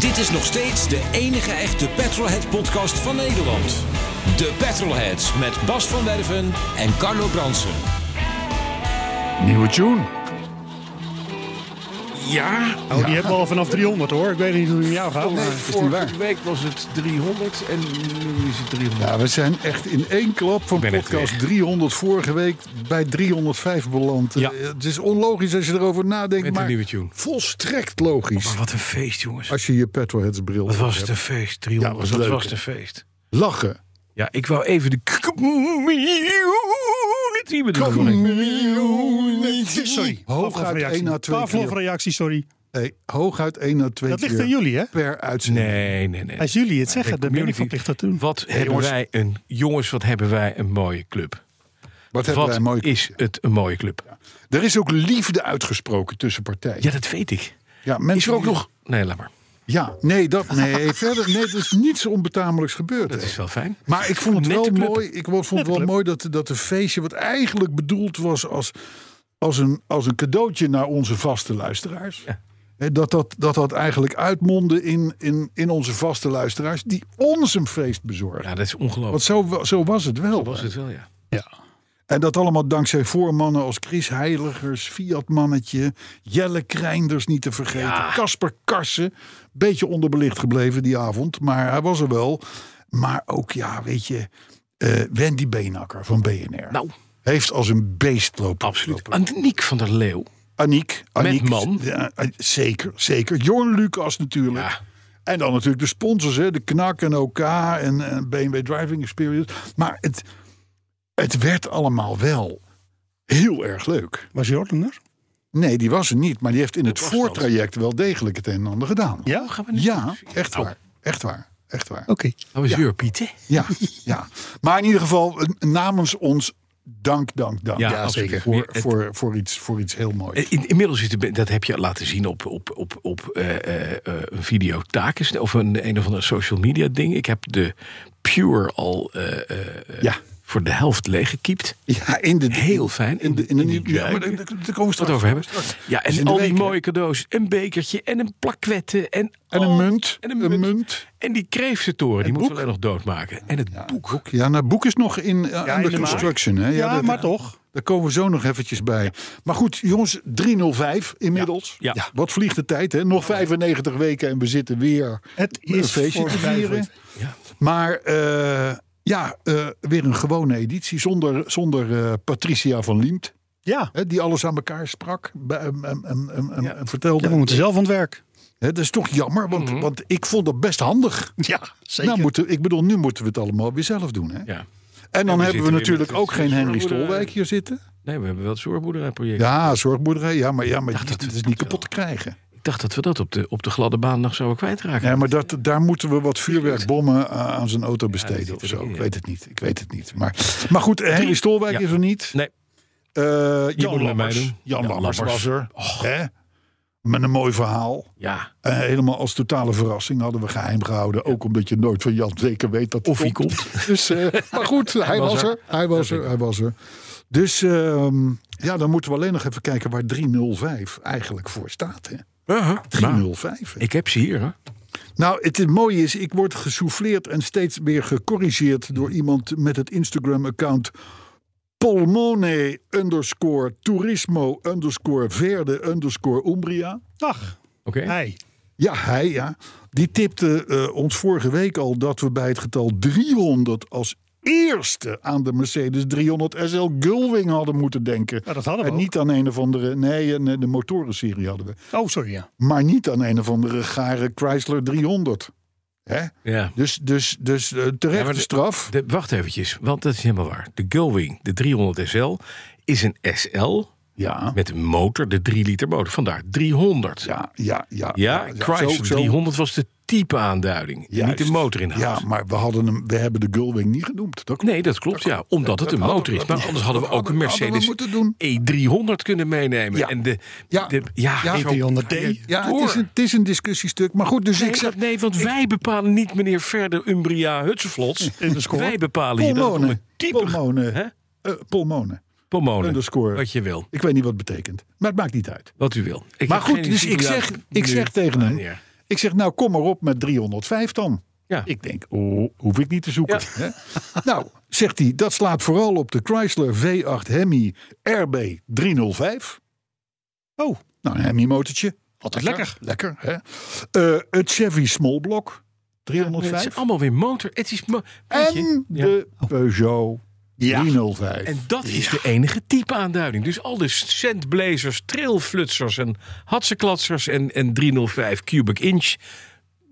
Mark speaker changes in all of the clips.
Speaker 1: Dit is nog steeds de enige echte Petrolhead-podcast van Nederland. De Petrolheads met Bas van Werven en Carlo Bransen.
Speaker 2: Nieuwe tune.
Speaker 3: Ja,
Speaker 4: Oh, die hebben we al vanaf 300 hoor. Ik weet niet hoe die met jou gaat.
Speaker 2: Oh,
Speaker 3: nee,
Speaker 4: maar-
Speaker 3: vorige week was het 300 en nu is het 300.
Speaker 2: Ja, we zijn echt in één klap van
Speaker 3: Ik ben echt
Speaker 2: podcast
Speaker 3: weg.
Speaker 2: 300 vorige week bij 305 beland.
Speaker 3: Ja.
Speaker 2: Eh, Het is onlogisch als je erover nadenkt,
Speaker 3: Met een
Speaker 2: maar
Speaker 3: nieuwe tune.
Speaker 2: volstrekt logisch.
Speaker 3: Maar Oh, wat een feest, jongens.
Speaker 2: Als je je Petroheads bril
Speaker 3: Wat was
Speaker 2: op
Speaker 3: het
Speaker 2: hebt.
Speaker 3: een feest,
Speaker 2: Ja,
Speaker 3: 300.
Speaker 2: was
Speaker 3: Ja, dat
Speaker 2: leuk,
Speaker 3: was
Speaker 2: hè?
Speaker 3: het een feest.
Speaker 2: Lachen.
Speaker 3: Ja, ik wou even de community bedoelen.
Speaker 2: Sorry.
Speaker 4: Pavlov
Speaker 2: Hooguit 1
Speaker 4: reactie.
Speaker 2: à 2
Speaker 4: Pavlov
Speaker 2: keer,
Speaker 4: reactie, sorry.
Speaker 2: nee, hooguit 1 à 2
Speaker 4: Dat ligt
Speaker 2: keer
Speaker 4: aan jullie, hè?
Speaker 2: per uitzending.
Speaker 3: Nee, nee, nee.
Speaker 4: Als jullie het zeggen,
Speaker 3: de
Speaker 4: dan ben ik
Speaker 3: community.
Speaker 4: verplicht dat te doen.
Speaker 3: Wat hebben
Speaker 2: jongens.
Speaker 3: wij een... Jongens, wat hebben wij een mooie club.
Speaker 2: Wat hebben
Speaker 3: Wat
Speaker 2: wij een mooi.
Speaker 3: is het een mooie club.
Speaker 2: Er is ook liefde uitgesproken tussen partijen.
Speaker 3: Ja, dat weet ik.
Speaker 2: Ja, mensen
Speaker 3: Is er ook
Speaker 2: die-
Speaker 3: nog... Nee, laat maar.
Speaker 2: Ja, nee, dat nee. verder, nee, er is niets onbetamelijks gebeurd.
Speaker 3: Dat
Speaker 2: hè.
Speaker 3: is wel fijn.
Speaker 2: Maar ik vond het
Speaker 3: Nette
Speaker 2: wel
Speaker 3: club.
Speaker 2: mooi. Ik vond het wel mooi dat, dat een feestje, wat eigenlijk bedoeld was als, als, een, als een cadeautje naar onze vaste luisteraars.
Speaker 3: Ja.
Speaker 2: hè, Dat, dat, dat dat eigenlijk uitmondde in, in, in onze vaste luisteraars die ons een feest bezorgen.
Speaker 3: Ja, dat is
Speaker 2: Want
Speaker 3: ongelooflijk.
Speaker 2: zo, wa- zo was het wel.
Speaker 3: Dat was het wel, ja.
Speaker 2: En dat allemaal dankzij voormannen als Chris Heiligers, Fiat Mannetje, Jelle Krijnders niet te vergeten, Casper Karsen. Beetje onderbelicht gebleven die avond, maar hij was er wel. Maar ook, ja, weet je, eh, Wendy Beenakker van BNR.
Speaker 3: Nou,
Speaker 2: Heeft als een beest lopen.
Speaker 3: absoluut.
Speaker 2: lopen.
Speaker 3: Antoniek van der Leeuw.
Speaker 2: Aniek. Aniek
Speaker 3: man.
Speaker 2: Ja, eh, zeker, zeker. Jorn Lucas natuurlijk.
Speaker 3: Ja.
Speaker 2: En dan natuurlijk de sponsors, hè, de Knak en OK en, eh, en BMW Driving Experience. Maar het, het werd allemaal wel heel erg leuk.
Speaker 4: Was Jordan er?
Speaker 2: Nee, die was er niet, maar die heeft in het
Speaker 3: was dat?
Speaker 2: voortraject wel degelijk het een en ander gedaan.
Speaker 4: Ja?
Speaker 3: Gaan we nu-
Speaker 2: Ja, echt
Speaker 3: Nou,
Speaker 2: waar. Echt waar. Echt waar.
Speaker 4: Oké.
Speaker 3: Dat was Jur Pieter.
Speaker 2: Ja, ja. Maar in ieder geval eh, namens ons dank, dank, dank.
Speaker 3: Ja, Ja, absoluut. zeker.
Speaker 2: Voor,
Speaker 3: Het-
Speaker 2: voor, voor, iets, voor iets heel moois.
Speaker 3: In- Eh, in- inmiddels is de, be- dat heb je laten zien op, op, op, op eh, eh, eh, een videotaak is- of een, een of ander social media ding. Ik heb de Pure al eh, eh,
Speaker 2: Ja.
Speaker 3: voor de helft leeggekiept.
Speaker 2: Ja, in de,
Speaker 3: Heel fijn.
Speaker 2: In de, in de,
Speaker 3: In die
Speaker 2: ja, maar daar,
Speaker 3: duiken.
Speaker 2: daar daar komen we
Speaker 3: Wat
Speaker 2: straks
Speaker 3: over hebben.
Speaker 2: straks.
Speaker 3: Ja,
Speaker 2: Dus
Speaker 3: en
Speaker 2: in de
Speaker 3: al die
Speaker 2: week, hè?
Speaker 3: mooie cadeaus. Een bekertje en een plakwetten. En,
Speaker 2: En een
Speaker 3: al-
Speaker 2: munt.
Speaker 3: En
Speaker 2: En
Speaker 3: een
Speaker 2: Een
Speaker 3: munt.
Speaker 2: munt.
Speaker 3: En die kreeftentoren, die moeten we alleen nog doodmaken. En het boek.
Speaker 2: Ja, nou, het boek is nog in, eh,
Speaker 4: in
Speaker 2: under
Speaker 4: de maak.
Speaker 2: construction. Hè?
Speaker 4: Ja,
Speaker 2: dat-
Speaker 4: maar toch.
Speaker 2: Daar komen we zo nog eventjes bij. Maar goed, jongens, 305 inmiddels.
Speaker 3: Ja. Ja.
Speaker 2: Wat vliegt de tijd, hè? Nog 95 weken en we zitten weer
Speaker 4: Het
Speaker 2: een
Speaker 4: is
Speaker 2: feestje te
Speaker 4: voorbij,
Speaker 2: vieren.
Speaker 4: vriend.
Speaker 3: Ja.
Speaker 2: Maar eh, ja, eh, weer een gewone editie zonder, zonder eh, Patricia van Liemt.
Speaker 4: Ja.
Speaker 2: Hè, die alles aan elkaar sprak bij- en, en, en, en- en vertelde.
Speaker 4: ja, we moeten zelf aan het werk.
Speaker 2: Hè, dat is toch jammer, want,
Speaker 3: Mhm.
Speaker 2: want ik vond dat best handig.
Speaker 4: Ja, zeker.
Speaker 2: Nou, moeten, ik bedoel, nu moeten we het allemaal weer zelf doen. Hè?
Speaker 3: Ja.
Speaker 2: En dan
Speaker 3: we
Speaker 2: hebben we
Speaker 3: zitten weer
Speaker 2: natuurlijk
Speaker 3: met het
Speaker 2: ook geen Henry
Speaker 3: zorgboerderij.
Speaker 2: Stolwijk hier zitten.
Speaker 3: Nee, we hebben wel het zorgboerderijproject.
Speaker 2: Ja, zorgboerderij. Ja, maar, ja, maar
Speaker 3: Dacht
Speaker 2: die-
Speaker 3: dat-
Speaker 2: dat is niet kapot te krijgen.
Speaker 3: Ik dacht dat we dat op de, op de gladde baan nog zouden kwijtraken.
Speaker 2: Ja, maar dat, daar moeten we wat vuurwerkbommen eh, aan zijn auto besteden
Speaker 3: zit
Speaker 2: of zo.
Speaker 3: erin,
Speaker 2: Ik
Speaker 3: ja.
Speaker 2: weet het niet. Ik weet het niet. Maar, maar goed, eh, Henry Stolwijk
Speaker 3: Ja.
Speaker 2: is er niet.
Speaker 3: Nee.
Speaker 2: Eh,
Speaker 3: moet
Speaker 2: Jan
Speaker 3: met mij
Speaker 2: Lammers.
Speaker 3: doen.
Speaker 2: Jan
Speaker 3: Ja,
Speaker 2: Lammers
Speaker 3: Lammers.
Speaker 2: was er. Hè? Met een mooi verhaal.
Speaker 3: Ja.
Speaker 2: Eh, helemaal als totale verrassing hadden we geheim gehouden. Ook omdat je nooit van Jan zeker weet dat hij
Speaker 3: Of wie komt.
Speaker 2: Dus, eh, maar goed, hij
Speaker 3: was
Speaker 2: was
Speaker 3: er.
Speaker 2: er. Hij was er. Hij was er. Dus ehm, ja, dan moeten we alleen nog even kijken waar 305 eigenlijk voor staat. Hè?
Speaker 3: Uh-huh.
Speaker 2: 305. hè?
Speaker 3: Ik heb ze hier, hè?
Speaker 2: Nou, het, het mooie is, ik word gesouffleerd en steeds weer gecorrigeerd
Speaker 3: Hmm.
Speaker 2: door iemand met het Instagram-account Polmone underscore Turismo underscore Verde underscore Umbria.
Speaker 4: Dag.
Speaker 3: Oké.
Speaker 4: Hey.
Speaker 2: Ja, hij ja. Die tipte eh, ons vorige week al dat we bij het getal 300 als eerste aan de Mercedes 300 SL Gullwing hadden moeten denken.
Speaker 4: Ja, dat hadden we
Speaker 2: En niet aan een of andere, nee, een- de motorenserie hadden we.
Speaker 4: Oh, sorry. Ja.
Speaker 2: Maar niet aan een of andere gare Chrysler 300. Hè?
Speaker 3: Ja.
Speaker 2: Dus, dus, dus eh,
Speaker 3: Ja,
Speaker 2: terecht
Speaker 3: maar de-
Speaker 2: de straf.
Speaker 3: De, wacht eventjes, want dat is helemaal waar. De Gullwing, de 300 SL, is een SL
Speaker 2: Ja,
Speaker 3: met een motor, de 3 liter motor. Vandaar 300.
Speaker 2: ja, ja. Ja,
Speaker 3: Ja,
Speaker 2: ja,
Speaker 3: Chrysler
Speaker 2: zo- zo-
Speaker 3: 300 was de type aanduiding. en Niet
Speaker 2: Juist.
Speaker 3: de motorinhoud.
Speaker 2: Ja, maar we, hadden hem, we hebben de Gullwing niet genoemd. Dat
Speaker 3: Nee, dat klopt, ja. Omdat het een motor is. Maar anders hadden we ook een
Speaker 2: hadden- hadden we
Speaker 3: Mercedes
Speaker 2: moeten doen.
Speaker 3: E300 kunnen meenemen.
Speaker 2: Ja.
Speaker 3: En de,
Speaker 2: Ja.
Speaker 3: de, ja,
Speaker 2: Ja.
Speaker 3: zo-
Speaker 4: 300D.
Speaker 2: Ja, het is, een, het is een discussiestuk. Maar goed, dus
Speaker 3: Nee,
Speaker 2: ik zeg...
Speaker 3: dat- nee, want wij bepalen niet meneer Verder Umbria Hutsenvlots.
Speaker 4: In de score.
Speaker 3: Wij bepalen hier dat het om
Speaker 2: Polmonen.
Speaker 3: een type
Speaker 2: Polmonen.
Speaker 3: Hè?
Speaker 2: Eh, Polmonen.
Speaker 3: Pomonen.
Speaker 2: Underscore.
Speaker 3: Wat je wil.
Speaker 2: Ik weet niet wat het betekent. Maar het maakt niet uit.
Speaker 3: Wat u wil. Ik
Speaker 2: Maar
Speaker 3: heb
Speaker 2: goed,
Speaker 3: geen
Speaker 2: dus
Speaker 3: idee
Speaker 2: ik
Speaker 3: hoe
Speaker 2: zeg,
Speaker 3: dat
Speaker 2: ik
Speaker 3: nu-
Speaker 2: zeg tegen
Speaker 3: Ah,
Speaker 2: hem...
Speaker 3: ja.
Speaker 2: Ik zeg, nou kom maar op met 305 dan.
Speaker 3: Ja.
Speaker 2: Ik denk, oh, hoef ik niet te zoeken. Hè? Nou, zegt hij, dat slaat vooral op de Chrysler V8 Hemi RB 305. Oh. Nou, een Hemi motortje. Altijd lekker. Lekker, hè. Eh, het Chevy Small Block
Speaker 3: Het is
Speaker 2: 305.
Speaker 3: allemaal weer motor. Het is mo- weet je?
Speaker 2: en de Peugeot 305.
Speaker 3: En dat is de enige type aanduiding. Dus al de centblazers, trailflutsers en hatsenklatsers en, en 305 cubic inch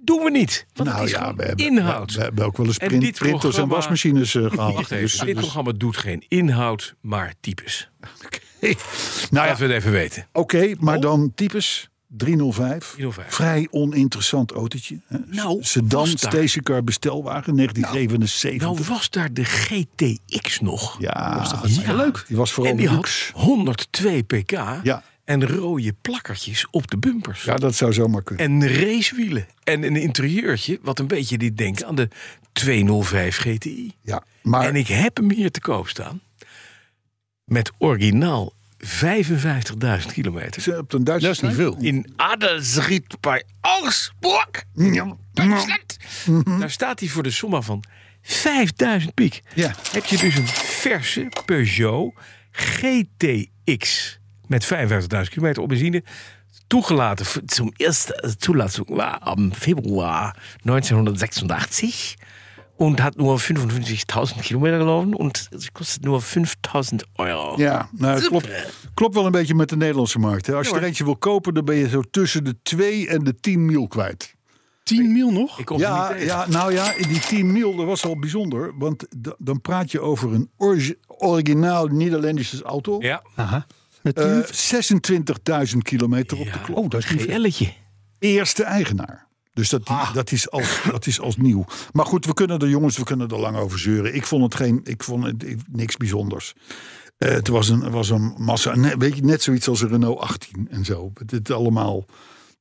Speaker 3: doen we niet. Want
Speaker 2: nou
Speaker 3: het is
Speaker 2: ja,
Speaker 3: gewoon
Speaker 2: we hebben,
Speaker 3: inhoud.
Speaker 2: We, we hebben ook wel eens
Speaker 3: En
Speaker 2: print-
Speaker 3: dit
Speaker 2: printers en
Speaker 3: programma-
Speaker 2: wasmachines eh, gehaald.
Speaker 3: Wacht even,
Speaker 2: Dus-
Speaker 3: dit programma doet geen inhoud, maar types.
Speaker 2: nou ja,
Speaker 3: Laten we het even weten.
Speaker 2: Oké, maar
Speaker 3: Oh.
Speaker 2: dan types 305.
Speaker 3: 305.
Speaker 2: Vrij oninteressant autootje. hè.
Speaker 3: Nou,
Speaker 2: Sedan,
Speaker 3: was daar-
Speaker 2: stationcar bestelwagen, 1977.
Speaker 3: Nou was daar de GTX nog.
Speaker 2: Ah, ja, was
Speaker 3: Ja. leuk.
Speaker 2: Die was vooral
Speaker 3: en die
Speaker 2: luxe.
Speaker 3: had 102 pk
Speaker 2: Ja.
Speaker 3: en rode plakkertjes op de bumpers.
Speaker 2: Ja, dat zou zomaar kunnen.
Speaker 3: En racewielen. En een interieurtje wat een beetje dit denkt aan de 205 GTI.
Speaker 2: ja, maar
Speaker 3: En ik heb hem hier te koop staan. Met originaal 55.000 kilometer.
Speaker 2: ze op een Duitse
Speaker 4: Dat is niet
Speaker 2: site?
Speaker 4: veel.
Speaker 3: In Adelsried bij Augsburg.
Speaker 2: Ja.
Speaker 3: Duitsland. Daar staat hij voor de somma van 5000 piek.
Speaker 2: Ja.
Speaker 3: Heb je dus een verse Peugeot GTX met 55.000 kilometer op benzine. Toegelaten voor- zum eerste Zulassung war am Februar 1986 und hat nur 55.000 Kilometer gelaufen und es kostet nur 5.000 Euro.
Speaker 2: Ja, nou, het klopt, klopt wel een beetje met de Nederlandse markt. Hè. Als je
Speaker 3: Ja,
Speaker 2: er eentje wil kopen, dan ben je zo tussen de 2 en de 10 mil kwijt.
Speaker 4: 10 mil nog?
Speaker 3: Ik kom er niet
Speaker 2: Ja,
Speaker 3: tegen.
Speaker 2: ja, nou ja, in die 10 mil, dat was al bijzonder. Want da- dan praat je over een orgi- originaal Nederlandse auto.
Speaker 3: ja.
Speaker 4: Met
Speaker 2: Eh,
Speaker 4: 10?
Speaker 2: 26.000 kilometer op de klok.
Speaker 4: oh, dat is niet veel.
Speaker 3: GL'tje.
Speaker 2: Eerste eigenaar. Dus dat, die-
Speaker 3: Ah.
Speaker 2: dat, is als, dat is als nieuw. Maar goed, we kunnen er jongens, we kunnen er lang over zeuren. Ik vond het, geen, ik vond het ik- niks bijzonders. Eh, het was een, het was een massa. Net, weet je, net zoiets als een Renault 18 en zo. Het, het allemaal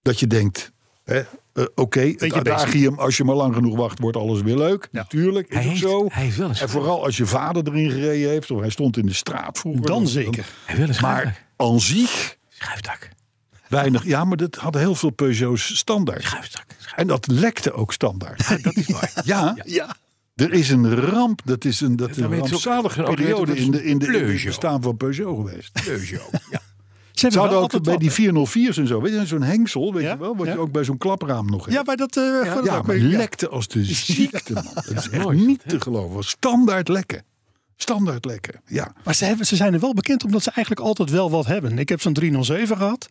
Speaker 2: dat je denkt. hè, eh, Oké, het adagium, als je maar lang genoeg wacht, wordt alles weer leuk. Natuurlijk, is
Speaker 3: Hij
Speaker 2: het
Speaker 3: heeft-
Speaker 2: zo.
Speaker 3: hij heeft wel een
Speaker 2: en vooral als je vader erin gereden heeft, of hij stond in de straat vroeger.
Speaker 4: Dan zeker.
Speaker 3: Hij wil een schuifdak.
Speaker 2: Maar aan zich,
Speaker 3: Schuifdak.
Speaker 2: Weinig. Ja, maar dat hadden heel veel Peugeots standaard.
Speaker 3: Schuifdak. Schuifdak.
Speaker 2: En dat lekte ook standaard.
Speaker 3: Dat is waar.
Speaker 2: Ja,
Speaker 4: Ja.
Speaker 2: er is een ramp. Dat is een, dat is een
Speaker 3: daarmee is het ook-
Speaker 2: rampzalige
Speaker 3: daarmee is het ook
Speaker 2: periode in, de, in, de, in het
Speaker 3: Peugeot.
Speaker 2: bestaan van Peugeot geweest.
Speaker 3: Peugeot.
Speaker 4: Ze
Speaker 3: Ja.
Speaker 2: Ze
Speaker 4: hebben
Speaker 2: hadden
Speaker 4: wel
Speaker 2: ook
Speaker 4: altijd
Speaker 2: bij
Speaker 4: wat,
Speaker 2: die
Speaker 4: hè?
Speaker 2: 404's en zo. Weet je, zo'n hengsel, weet
Speaker 4: Ja,
Speaker 2: je wel, wat
Speaker 4: ja.
Speaker 2: je ook bij zo'n klapraam nog hebt.
Speaker 4: Ja, bij dat... eh, voor dat
Speaker 2: Ja,
Speaker 4: ook
Speaker 2: maar
Speaker 4: weer- ja.
Speaker 2: lekte als de ziekte, man. Dat is echt
Speaker 3: mooi,
Speaker 2: niet te geloven. Was Standaard lekken. Standaard lekken, ja.
Speaker 4: Maar ze, hebben, ze zijn er wel bekend omdat ze eigenlijk altijd wel wat hebben. Ik heb zo'n 307 gehad.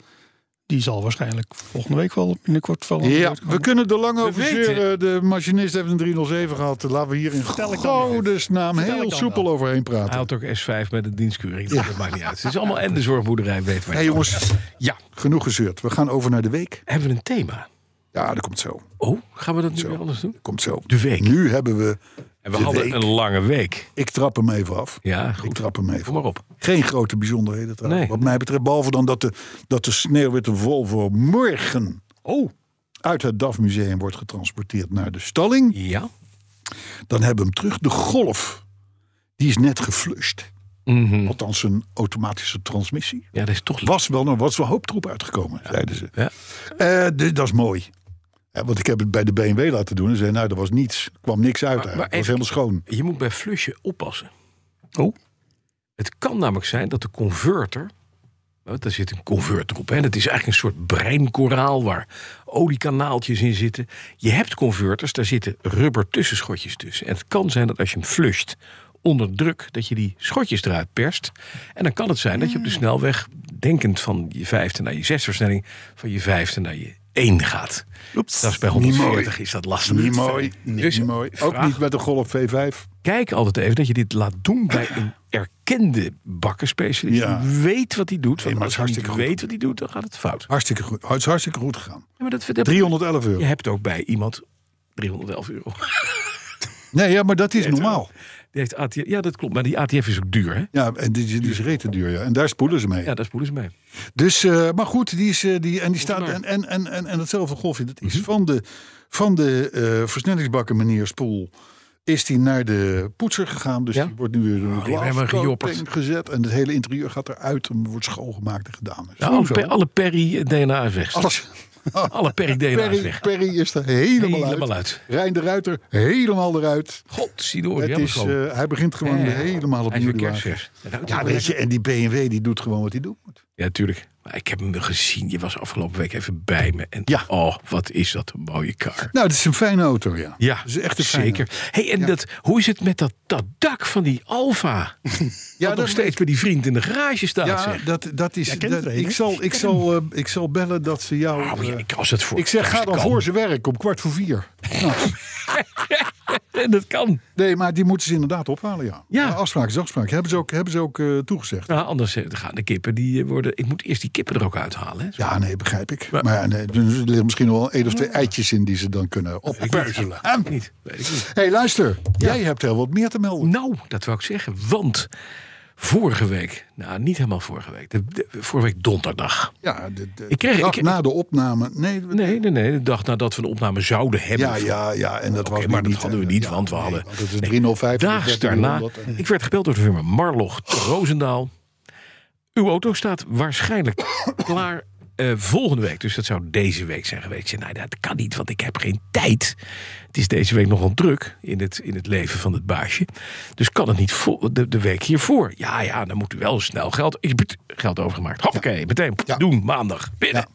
Speaker 4: Die zal waarschijnlijk volgende week wel binnenkort van.
Speaker 2: Ja, we kunnen er lang over
Speaker 3: weten-
Speaker 2: zeuren. De machinist heeft een 307 gehad. Laten we hier in
Speaker 4: Vertel ik dan
Speaker 2: godesnaam
Speaker 4: ik
Speaker 2: heel
Speaker 4: dan
Speaker 2: soepel overheen praten.
Speaker 3: Hij had ook S5 met een dienstkeuring. Dat maakt niet uit. Het is allemaal en de zorgboerderij weet waar.
Speaker 2: Hé
Speaker 3: je-
Speaker 2: jongens,
Speaker 3: Ja,
Speaker 2: genoeg gezeurd. We gaan over naar de week.
Speaker 3: hebben we een thema?
Speaker 2: Ja, dat komt zo.
Speaker 3: Oh, gaan we dat nu weer anders doen?
Speaker 2: Komt zo.
Speaker 3: De week.
Speaker 2: Nu hebben we...
Speaker 3: En we
Speaker 2: de
Speaker 3: hadden
Speaker 2: week.
Speaker 3: een lange week.
Speaker 2: Ik trap hem even af.
Speaker 3: Ja,
Speaker 2: Ik
Speaker 3: goed.
Speaker 2: trap hem
Speaker 3: Kom
Speaker 2: even
Speaker 3: maar
Speaker 2: af.
Speaker 3: op.
Speaker 2: Geen grote bijzonderheden trouwens.
Speaker 3: Nee.
Speaker 2: Wat mij betreft. Behalve dan dat de, dat de sneeuwwitte Volvo morgen...
Speaker 3: Oh.
Speaker 2: uit het DAF museum wordt getransporteerd naar de stalling.
Speaker 3: Ja.
Speaker 2: Dan hebben we hem terug. De Golf. Die is net geflushed.
Speaker 3: Mhm.
Speaker 2: Althans een automatische transmissie.
Speaker 3: Ja, dat is toch leuk.
Speaker 2: was wel een was wel hooptroep uitgekomen, zeiden ze.
Speaker 3: Ja.
Speaker 2: Eh, dus dat is mooi. Eh, want ik heb het bij de BMW laten doen. En zei, nou, er was niets. Er kwam niks uit.
Speaker 3: maar
Speaker 2: eigenlijk. Het was
Speaker 3: even-
Speaker 2: helemaal schoon.
Speaker 3: Je moet bij flusje oppassen.
Speaker 4: Oh.
Speaker 3: Het kan namelijk zijn dat de converter. want Daar zit een converter op. Hè? Dat is eigenlijk een soort breinkoraal waar oliekanaaltjes in zitten. Je hebt converters, daar zitten rubber tussenschotjes tussen. En het kan zijn dat als je hem flusht onder druk, dat je die schotjes eruit perst. En dan kan het zijn dat je op de snelweg, denkend van je vijfde naar je zesversnelling, van je vijfde naar je 1 gaat.
Speaker 4: Oeps.
Speaker 3: Dat is bij
Speaker 2: Niet
Speaker 3: 140
Speaker 2: mooi.
Speaker 3: is dat lastig.
Speaker 2: Niet mooi.
Speaker 3: Dus
Speaker 2: Niet mooi. Ook
Speaker 3: vraag-
Speaker 2: niet met de Golf V5.
Speaker 3: Kijk altijd even dat je dit laat doen bij een erkende bakkerspecialist.
Speaker 2: Ja.
Speaker 3: Die weet wat hij doet. Want
Speaker 2: maar
Speaker 3: als
Speaker 2: het
Speaker 3: hij
Speaker 2: is
Speaker 3: niet
Speaker 2: hartstikke
Speaker 3: weet wat hij doet, dan gaat het fout.
Speaker 2: Hartstikke goed. Oh, Het is hartstikke goed gegaan.
Speaker 3: Ja, maar dat, dat-
Speaker 2: 311 euro.
Speaker 3: Je hebt ook bij iemand 311 euro.
Speaker 2: Nee, ja, maar dat is normaal.
Speaker 3: Die heeft ATF, ja, dat klopt. Maar die ATF is ook duur, hè?
Speaker 2: Ja, en die, die is rete duur. Ja. En daar spoelen ze mee.
Speaker 3: Ja, daar spoelen ze mee.
Speaker 2: Dus, eh, maar goed, die is, eh, die, en die staat.
Speaker 3: maar.
Speaker 2: En, en, en, en, en hetzelfde golfje, dat
Speaker 3: Mhm.
Speaker 2: is van de, van de eh versnellingsbakken, meneer Spoel. Is die naar de poetser gegaan. Dus
Speaker 3: Ja? Oh,
Speaker 2: die wordt nu weer door
Speaker 3: die
Speaker 2: een
Speaker 3: hebben we gejopperd.
Speaker 2: glascoating gezet. En het hele interieur gaat eruit. En wordt schoongemaakt en gedaan.
Speaker 3: Nou, alle, per- alle Perry-DNA is weg.
Speaker 2: Alles.
Speaker 3: Alle Perry-DNA is
Speaker 2: Perry,
Speaker 3: weg.
Speaker 2: Perry is er helemaal,
Speaker 3: Helemaal
Speaker 2: uit.
Speaker 3: uit.
Speaker 2: Rijn de Ruiter helemaal eruit.
Speaker 3: God, zie door.
Speaker 2: het is, eh, hij begint gewoon helemaal
Speaker 3: Hij is weer
Speaker 2: opnieuw. die wagen.
Speaker 3: kerstvers.
Speaker 2: Ja, weet je, en die BMW die doet gewoon wat hij doen moet.
Speaker 3: Ja, tuurlijk. Maar ik heb hem gezien. Je was afgelopen week even bij me. En
Speaker 2: Ja.
Speaker 3: oh, wat is dat een mooie kar.
Speaker 2: Nou, dat is een fijne auto, ja.
Speaker 3: Ja,
Speaker 2: dat is echt een fijne
Speaker 3: zeker. Hey, en dat, hoe is het met dat, dat dak van die Alfa? Ja, dat nog
Speaker 2: dat-
Speaker 3: steeds bij die vriend in de garage staat,
Speaker 2: Ja,
Speaker 3: zeg.
Speaker 2: dat, dat is.
Speaker 4: kent
Speaker 2: dat-
Speaker 4: er een,
Speaker 2: ik,
Speaker 4: hè?
Speaker 2: zal, ik, zal, eh, ik zal bellen dat ze jou.
Speaker 3: Oh, ja,
Speaker 2: eh,
Speaker 3: ik, als het voor
Speaker 2: ik zeg, ga
Speaker 3: kerst
Speaker 2: dan
Speaker 3: kan.
Speaker 2: voor zijn werk om kwart voor vier.
Speaker 3: dat kan.
Speaker 2: Nee, maar die moeten ze inderdaad ophalen, ja.
Speaker 3: Ja.
Speaker 2: afspraak is afspraak. Hebben ze ook, hebben ze ook eh, toegezegd.
Speaker 3: Nou, anders eh, gaan de kippen die eh, worden. Ik moet eerst die kippen er ook uithalen. Hè?
Speaker 2: Ja, nee, begrijp ik. Maar ja, nee, er liggen misschien nog wel één of
Speaker 3: Mm.
Speaker 2: twee eitjes in die ze dan kunnen oppeuzelen. Hé,
Speaker 3: Niet, weet ik niet.
Speaker 2: hey, luister. Jij hebt heel wat meer te melden.
Speaker 3: Nou, dat wou ik zeggen. Want vorige week, nou niet helemaal vorige week, de, de- vorige week donderdag.
Speaker 2: Ja, de, de,
Speaker 3: Ik kreeg-
Speaker 2: de dag
Speaker 3: ik-
Speaker 2: na de opname. Nee,
Speaker 3: Nee, nee, nee. De dag nadat we een opname zouden hebben.
Speaker 2: Ja, ja, ja. En dat
Speaker 3: Oké,
Speaker 2: was nu
Speaker 3: maar dat
Speaker 2: niet,
Speaker 3: hadden we
Speaker 2: eh,
Speaker 3: niet,
Speaker 2: ja,
Speaker 3: want we
Speaker 2: nee,
Speaker 3: hadden.
Speaker 2: want het is
Speaker 3: Nee,
Speaker 2: 305.
Speaker 3: Daags daarna.
Speaker 2: 1300 en-
Speaker 3: Ik werd gebeld door de firma Marlog te Roosendaal. Uw auto staat waarschijnlijk klaar eh, volgende week. Dus dat zou deze week zijn geweest. Ik zei, nee, dat kan niet, want ik heb geen tijd. Het is deze week nogal druk in het, in het leven van het baasje. Dus kan het niet vol- de, de week hiervoor. Ja, ja, dan moet u wel snel geld, ik heb het geld overgemaakt. Hoppakee, meteen
Speaker 2: Ja.
Speaker 3: doen, maandag, binnen.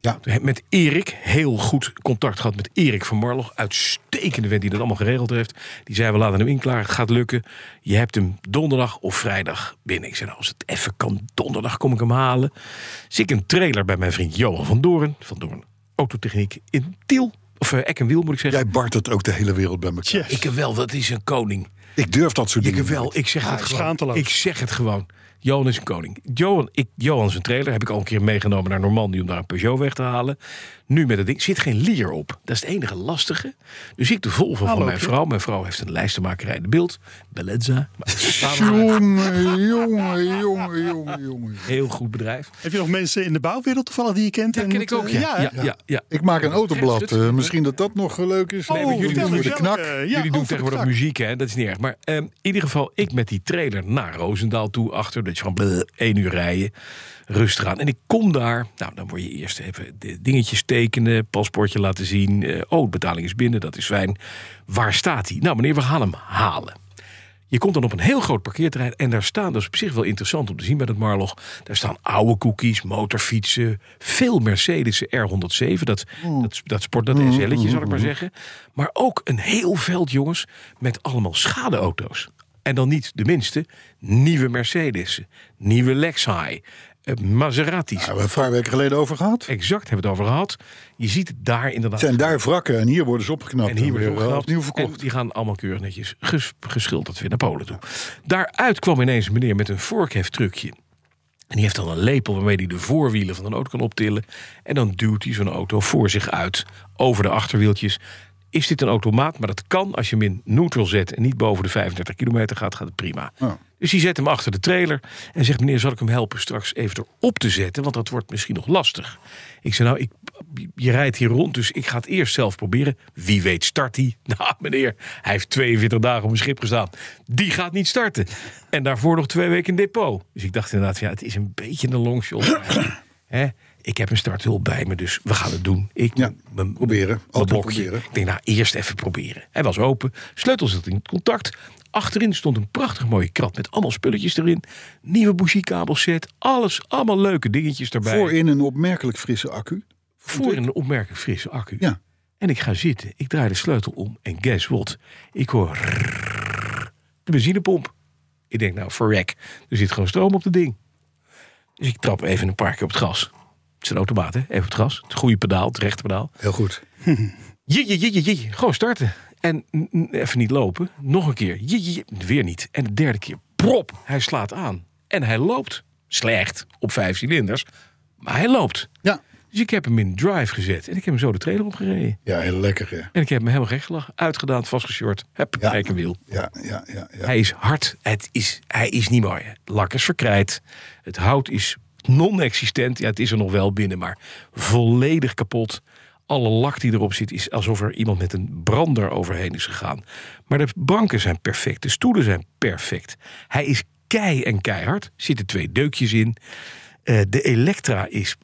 Speaker 2: Ja.
Speaker 3: Met Erik, heel goed contact gehad met Erik van Marlog. Uitstekende vent die dat allemaal geregeld heeft. Die zei, we laten hem inklaren, het gaat lukken. Je hebt hem donderdag of vrijdag binnen. Ik zei, nou, als het even kan, donderdag kom ik hem halen. Zie ik een trailer bij mijn vriend Johan van Doorn. Van Doorn Autotechniek in Tiel. Of eh, Eck en Wiel, moet ik zeggen.
Speaker 2: Jij bartelt ook de hele wereld bij elkaar.
Speaker 3: Ik wel, dat is een koning.
Speaker 2: Ik durf dat soort
Speaker 3: Ik
Speaker 2: dingen.
Speaker 3: wel, ik zeg het gewoon.
Speaker 4: schaamteloos.
Speaker 3: Ik zeg het gewoon. Johan is een koning. Johan, ik, Johan zijn trailer heb ik al een keer meegenomen naar Normandie om daar een Peugeot weg te halen. Nu met het ding zit geen lier op. Dat is het enige lastige. Dus ik de volver van
Speaker 4: Hallo,
Speaker 3: mijn
Speaker 4: Piet.
Speaker 3: vrouw. Mijn vrouw heeft een lijstenmakerij in de beeld. Belenza.
Speaker 2: Jongen, jongen, jongen, jongen, jongen.
Speaker 3: Heel goed bedrijf.
Speaker 4: Heb je nog mensen in de bouwwereld toevallig die je kent?
Speaker 3: Dat
Speaker 4: en
Speaker 3: ken ik
Speaker 4: moet,
Speaker 3: ook.
Speaker 4: eh,
Speaker 3: Ja,
Speaker 4: ja,
Speaker 3: ja, Oh, ja, ja.
Speaker 2: Ik maak een autoblad.
Speaker 3: Geeft het?
Speaker 2: Eh, misschien dat dat nog eh, leuk is.
Speaker 3: Oh,
Speaker 4: Nee, maar
Speaker 2: Dan
Speaker 4: jullie
Speaker 2: doen we
Speaker 4: doen
Speaker 2: de
Speaker 4: het
Speaker 2: knak.
Speaker 4: zelf, eh,
Speaker 3: Jullie doen
Speaker 4: over de
Speaker 3: tegenwoordig
Speaker 4: tak.
Speaker 3: muziek, hè? Dat is niet erg. Maar ehm, in ieder geval, ik met die trailer naar Roosendaal toe. Achter dat je van bleh, één uur rijden. Rustig aan. En ik kom daar. Nou, dan word je eerst even de dingetjes tekenen. Paspoortje laten zien. Eh, oh, de betaling is binnen. Dat is fijn. Waar staat hij? Nou, meneer, we gaan hem halen. Je komt dan op een heel groot parkeerterrein en daar staan, dat is op zich wel interessant om te zien bij dat Marlog, daar staan oude cookies, motorfietsen, veel Mercedes R107, dat, dat, dat sport, dat SL'tje zal ik maar zeggen. Maar ook een heel veld jongens met allemaal schadeauto's. En dan niet de minste, nieuwe Mercedes, nieuwe Lexi, eh, Maseratis.
Speaker 2: Daar hebben we een paar weken geleden over gehad.
Speaker 3: Exact, hebben we het over gehad. Je ziet het daar inderdaad.
Speaker 2: Het zijn daar wrakken en hier worden ze opgeknapt.
Speaker 3: En hier wordt
Speaker 2: weer,
Speaker 3: het
Speaker 2: eh,
Speaker 3: opgehaald.
Speaker 2: opnieuw
Speaker 3: En
Speaker 2: verkocht.
Speaker 3: die gaan allemaal keurig netjes ges- geschilderd weer naar Polen toe. Daaruit kwam ineens een meneer met een vorkheftrucje. En die heeft dan een lepel waarmee hij de voorwielen van een auto kan optillen. En dan duwt hij zo'n auto voor zich uit, over de achterwieltjes. Is dit een automaat? Maar dat kan als je hem in neutral zet en niet boven de 35 kilometer gaat, gaat het prima.
Speaker 2: Ja.
Speaker 3: Dus die zet hem achter de trailer en zegt: Meneer, zal ik hem helpen straks even erop te zetten? Want dat wordt misschien nog lastig. Ik zei: Nou, ik, je rijdt hier rond, dus ik ga het eerst zelf proberen. Wie weet, start hij? Nou, meneer, hij heeft 42 dagen op een schip gestaan. Die gaat niet starten. En daarvoor nog twee weken in depot. Dus ik dacht inderdaad: Ja, het is een beetje een longshot. Hè? Ik heb een starthulp bij me, dus we gaan het doen. Ik
Speaker 2: Ja,
Speaker 3: mijn-
Speaker 2: proberen.
Speaker 3: mijn
Speaker 2: Altijd
Speaker 3: blokje.
Speaker 2: proberen.
Speaker 3: Ik denk, nou, eerst even proberen. Hij was open, sleutel zat in het contact. Achterin stond een prachtig mooie krat met allemaal spulletjes erin. Nieuwe bougiekabelset, alles, allemaal leuke dingetjes erbij.
Speaker 2: Voorin een opmerkelijk frisse accu.
Speaker 3: Voor een opmerkelijk frisse accu.
Speaker 2: Ja.
Speaker 3: En ik ga zitten, ik draai de sleutel om en guess what? Ik hoor rrrr, de benzinepomp. Ik denk, nou, verrek, er zit gewoon stroom op het ding. Dus ik trap even een paar keer op het gas. Het is een automaat, hè? Even op het gas. Het goede pedaal, het rechte pedaal.
Speaker 5: Heel goed.
Speaker 3: Je, je, je, je, je. Gewoon starten. En n- n- even niet lopen. Nog een keer. Je, je, je. Weer niet. En de derde keer. Prop. Hij slaat aan. En hij loopt. Slecht. Op vijf cilinders. Maar hij loopt.
Speaker 5: Ja.
Speaker 3: Dus ik heb hem in drive gezet. En ik heb hem zo de trailer opgereden.
Speaker 5: Ja, heel lekker. Ja,
Speaker 3: En ik heb hem helemaal recht gelachen. Uitgedaan, vastgeshort. Heb
Speaker 5: Ja.
Speaker 3: een wiel.
Speaker 5: ja, ja. ja, ja.
Speaker 3: Hij is hard. Het is, hij is niet mooi. Het lak is verkrijt. Het hout is non-existent. Ja, het is er nog wel binnen, maar volledig kapot. Alle lak die erop zit is alsof er iemand met een brander overheen is gegaan. Maar de banken zijn perfect. De stoelen zijn perfect. Hij is kei en keihard. Er zitten twee deukjes in. Eh, de Electra is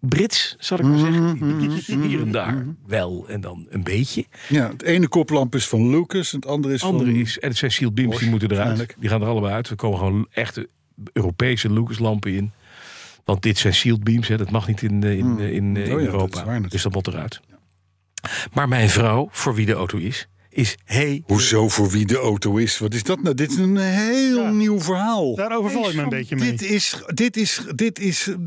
Speaker 3: Brits, zal ik maar zeggen. Hier en daar wel en dan een beetje.
Speaker 2: Ja, het ene koplamp is van Lucas en het andere is
Speaker 3: andere
Speaker 2: van...
Speaker 3: is, en het zijn Seal Beams, die moeten eruit.
Speaker 2: waarschijnlijk.
Speaker 3: Die gaan er allebei uit. Er komen gewoon echte Europese Lucaslampen in. Want dit zijn sealed beams, hè. dat mag niet in, eh, in, eh, in, eh, in
Speaker 2: Oh ja, dat
Speaker 3: Europa.
Speaker 2: is waar natuurlijk.
Speaker 3: dus dat moet eruit. Maar mijn vrouw, voor wie de auto is, is hey.
Speaker 2: Hoezo voor wie de auto is? Wat is dat nou? Dit is een heel nieuw verhaal.
Speaker 4: Daarover val ik me een beetje mee.
Speaker 2: Dit is, dit is, dit is. Je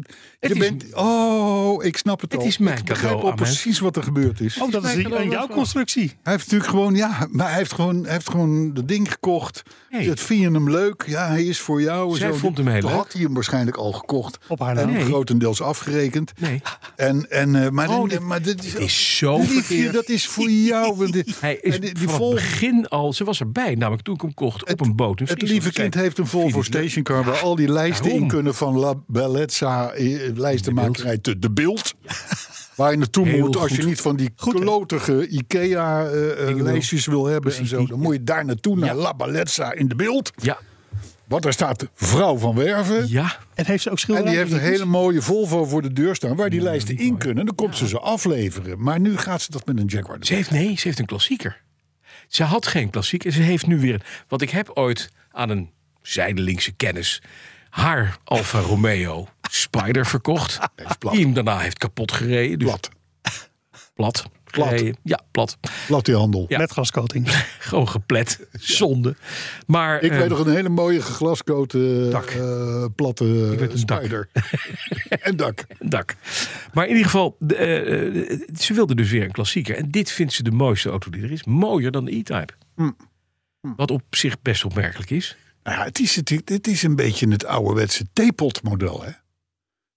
Speaker 3: is-
Speaker 2: bent. Oh, ik snap het
Speaker 3: Het
Speaker 2: al.
Speaker 3: is mijn
Speaker 2: ik begrijp
Speaker 3: cadeau
Speaker 2: al
Speaker 3: aan mensen.
Speaker 2: precies wat er gebeurd is.
Speaker 4: Oh, dat is die- en jouw constructie.
Speaker 2: Hij heeft natuurlijk gewoon, ja, maar hij heeft gewoon, hij heeft gewoon dat ding gekocht.
Speaker 3: Hey.
Speaker 2: Dat vind je hem leuk. Ja, hij is voor jou. en
Speaker 3: Zij
Speaker 2: zo.
Speaker 3: vond hem heel
Speaker 2: Toen
Speaker 3: leuk.
Speaker 2: had hij hem waarschijnlijk al gekocht.
Speaker 4: Op haar
Speaker 2: en
Speaker 4: naam.
Speaker 3: Nee.
Speaker 2: grotendeels afgerekend.
Speaker 3: Nee,
Speaker 2: En, en, eh, maar,
Speaker 3: Oh,
Speaker 2: dan-
Speaker 3: dit-
Speaker 2: maar dit,
Speaker 3: het is zo
Speaker 2: Liefje,
Speaker 3: verkeerd.
Speaker 2: dat is voor jou. want dit-
Speaker 3: Hij is
Speaker 2: en die- die
Speaker 3: van
Speaker 2: Volvo-
Speaker 3: het begin al, ze was erbij, namelijk toen ik hem kocht, op een boot. in
Speaker 2: Het
Speaker 3: Friesland.
Speaker 2: lieve kind
Speaker 3: Zij-
Speaker 2: heeft een
Speaker 3: Vind
Speaker 2: Volvo
Speaker 3: ik leuk.
Speaker 2: stationcar waar al die lijsten
Speaker 3: daarom.
Speaker 2: in kunnen van La Bellezza, eh, lijstenmakerij te De Beeld. Waar je naartoe
Speaker 3: Heel
Speaker 2: moet als je
Speaker 3: goed.
Speaker 2: niet van die klotige IKEA-lijstjes wil hebben
Speaker 3: dus
Speaker 2: en zo. Dan moet je daar naartoe naar La Bellezza in De Beeld.
Speaker 3: Ja,
Speaker 2: Want daar staat de vrouw van Werven.
Speaker 3: ja.
Speaker 4: En heeft ze ook
Speaker 2: En die
Speaker 4: schilderijen?
Speaker 2: heeft een hele mooie Volvo voor de deur staan waar die lijsten in kunnen. En dan komt ze ze afleveren. Maar nu gaat ze dat met een Jaguar doen.
Speaker 3: Ze heeft, nee, ze heeft een klassieker. Ze had geen klassieker. Ze heeft nu weer. een- Want ik heb ooit aan een zijdelingse kennis. haar Alfa Romeo Spider verkocht.
Speaker 2: plat.
Speaker 3: Die hem daarna heeft kapot gereden. Dus
Speaker 2: Plat.
Speaker 3: Plat.
Speaker 2: Plat.
Speaker 3: gereden. Ja, plat.
Speaker 2: Plat die handel.
Speaker 3: Ja.
Speaker 4: Met gascoating.
Speaker 3: Gewoon geplet. Zonde. Maar.
Speaker 2: Ik
Speaker 3: eh,
Speaker 2: weet nog een hele mooie geglaskoten
Speaker 3: Dak.
Speaker 2: eh, platte
Speaker 3: weet een dak.
Speaker 2: spider. en dak.
Speaker 3: dak. Maar in ieder geval, de, eh, eh, ze wilde dus weer een klassieker. En dit vindt ze de mooiste auto die er is. Mooier dan de E-Type.
Speaker 2: Hm.
Speaker 3: Wat op zich best opmerkelijk is.
Speaker 2: Nou ja, het is, het, het is een beetje het ouderwetse theepotmodel, hè?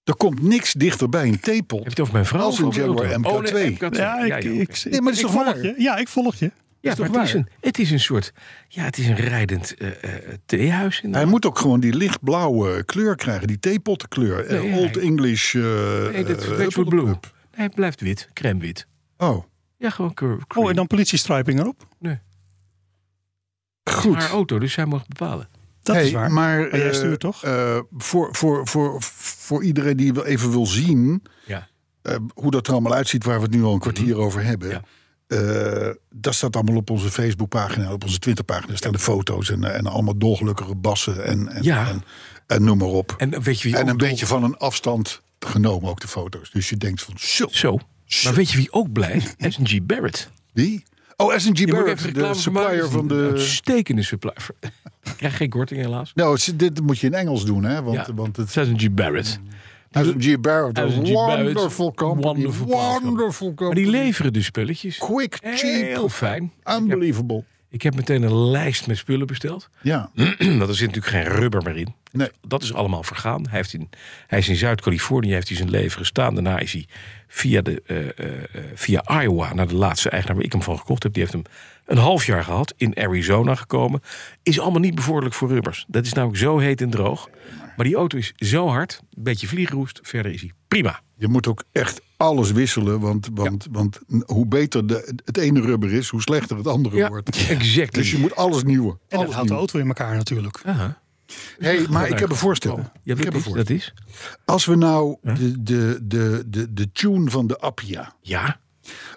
Speaker 2: Er komt niks dichter bij een
Speaker 3: Heb je
Speaker 2: theepot.
Speaker 3: het over mijn vrouw?
Speaker 2: Als een
Speaker 3: of over de
Speaker 2: Jaguar
Speaker 3: auto?
Speaker 2: MK2.
Speaker 3: Oh, nee, MK2.
Speaker 4: Ja, ik,
Speaker 3: ja, ja,
Speaker 4: ik,
Speaker 2: Nee, maar dat is
Speaker 4: ik
Speaker 2: toch
Speaker 4: volg
Speaker 2: waar?
Speaker 4: je. Ja, ik volg je.
Speaker 3: Ja,
Speaker 2: toch
Speaker 3: maar het, is
Speaker 2: waar?
Speaker 3: een, het is een soort. Ja, het is een rijdend eh, eh, theehuis. In
Speaker 2: Hij moet ook gewoon die lichtblauwe kleur krijgen, die theepottenkleur. Eh,
Speaker 3: Nee,
Speaker 2: Old
Speaker 3: hij-
Speaker 2: English. eh
Speaker 3: nee, dat
Speaker 2: eh,
Speaker 3: Dutchwood Blue. Nee, het blijft wit, crème wit.
Speaker 2: Oh,
Speaker 3: Ja, gewoon cur- cream.
Speaker 4: Oh, en dan politiestriping erop.
Speaker 3: Haar
Speaker 2: goed.
Speaker 3: auto, dus zij mag bepalen.
Speaker 4: Dat
Speaker 2: Hey,
Speaker 4: is waar.
Speaker 2: Maar,
Speaker 4: jij
Speaker 2: eh,
Speaker 4: stuurt toch?
Speaker 2: eh, voor, voor, voor, voor iedereen die wel even wil zien
Speaker 3: Ja. Mhm.
Speaker 2: eh, hoe dat er allemaal uitziet, waar we het nu al een kwartier over hebben.
Speaker 3: Ja.
Speaker 2: eh, dat staat allemaal op onze Facebookpagina, op onze Twitterpagina. Er staan de foto's en, eh, en allemaal dolgelukkige bassen en, en,
Speaker 3: Ja.
Speaker 2: en, en noem maar op. En,
Speaker 3: En weet je wie ook
Speaker 2: een
Speaker 3: dol-
Speaker 2: beetje van een afstand genomen ook de foto's. Dus je denkt van, zo,
Speaker 3: Zo. Maar weet je wie ook blijft? S&G Barrett.
Speaker 2: die? Oh, S&G
Speaker 3: Je moet
Speaker 2: Barrett,
Speaker 3: even reclame
Speaker 2: de
Speaker 3: voor maken, Oh,
Speaker 2: supplier
Speaker 3: dat is
Speaker 2: van
Speaker 3: een
Speaker 2: de...
Speaker 3: Uitstekende supplier. Ik krijg geen korting helaas.
Speaker 2: Nou, het- dit moet je in Engels doen, hè? Want,
Speaker 3: ja,
Speaker 2: want het
Speaker 3: S&G Barrett.
Speaker 2: S&G Barrett, een
Speaker 3: S&G Barrett,
Speaker 2: wonderful company.
Speaker 3: wonderful company.
Speaker 2: Wonderful
Speaker 3: Maar die
Speaker 2: company.
Speaker 3: leveren dus spulletjes.
Speaker 2: Quick, cheap,
Speaker 3: Heel fijn.
Speaker 2: unbelievable.
Speaker 3: Ik heb meteen een lijst met spullen besteld.
Speaker 2: Ja,
Speaker 3: Want er zit natuurlijk geen rubber meer in.
Speaker 2: Nee.
Speaker 3: Dat is allemaal vergaan. Hij, heeft in, hij is in Zuid-Californië, heeft hij zijn leven gestaan. Daarna is hij via, de, eh, eh, eh, via Iowa naar de laatste eigenaar waar ik hem van gekocht heb. Die heeft hem een half jaar gehad, in Arizona gekomen. Is allemaal niet bevorderlijk voor rubbers. Dat is namelijk zo heet en droog. Maar die auto is zo hard, een beetje vliegroest, verder is hij prima.
Speaker 2: je moet ook echt alles wisselen. Want, want, want hoe beter de, het ene rubber is, hoe slechter het andere wordt.
Speaker 3: exactly.
Speaker 2: Dus je moet alles nieuwe.
Speaker 4: En dan
Speaker 2: Alles
Speaker 4: houdt de
Speaker 2: nieuw.
Speaker 4: auto in elkaar natuurlijk.
Speaker 3: Aha.
Speaker 2: Hey, maar ik heb een voorstel.
Speaker 3: Ja,
Speaker 2: Ik heb
Speaker 3: dat,
Speaker 2: een
Speaker 3: is, dat
Speaker 2: voorstel.
Speaker 3: is?
Speaker 2: Als we nou de, de, de, de, de tune van de Appia,
Speaker 3: Ja.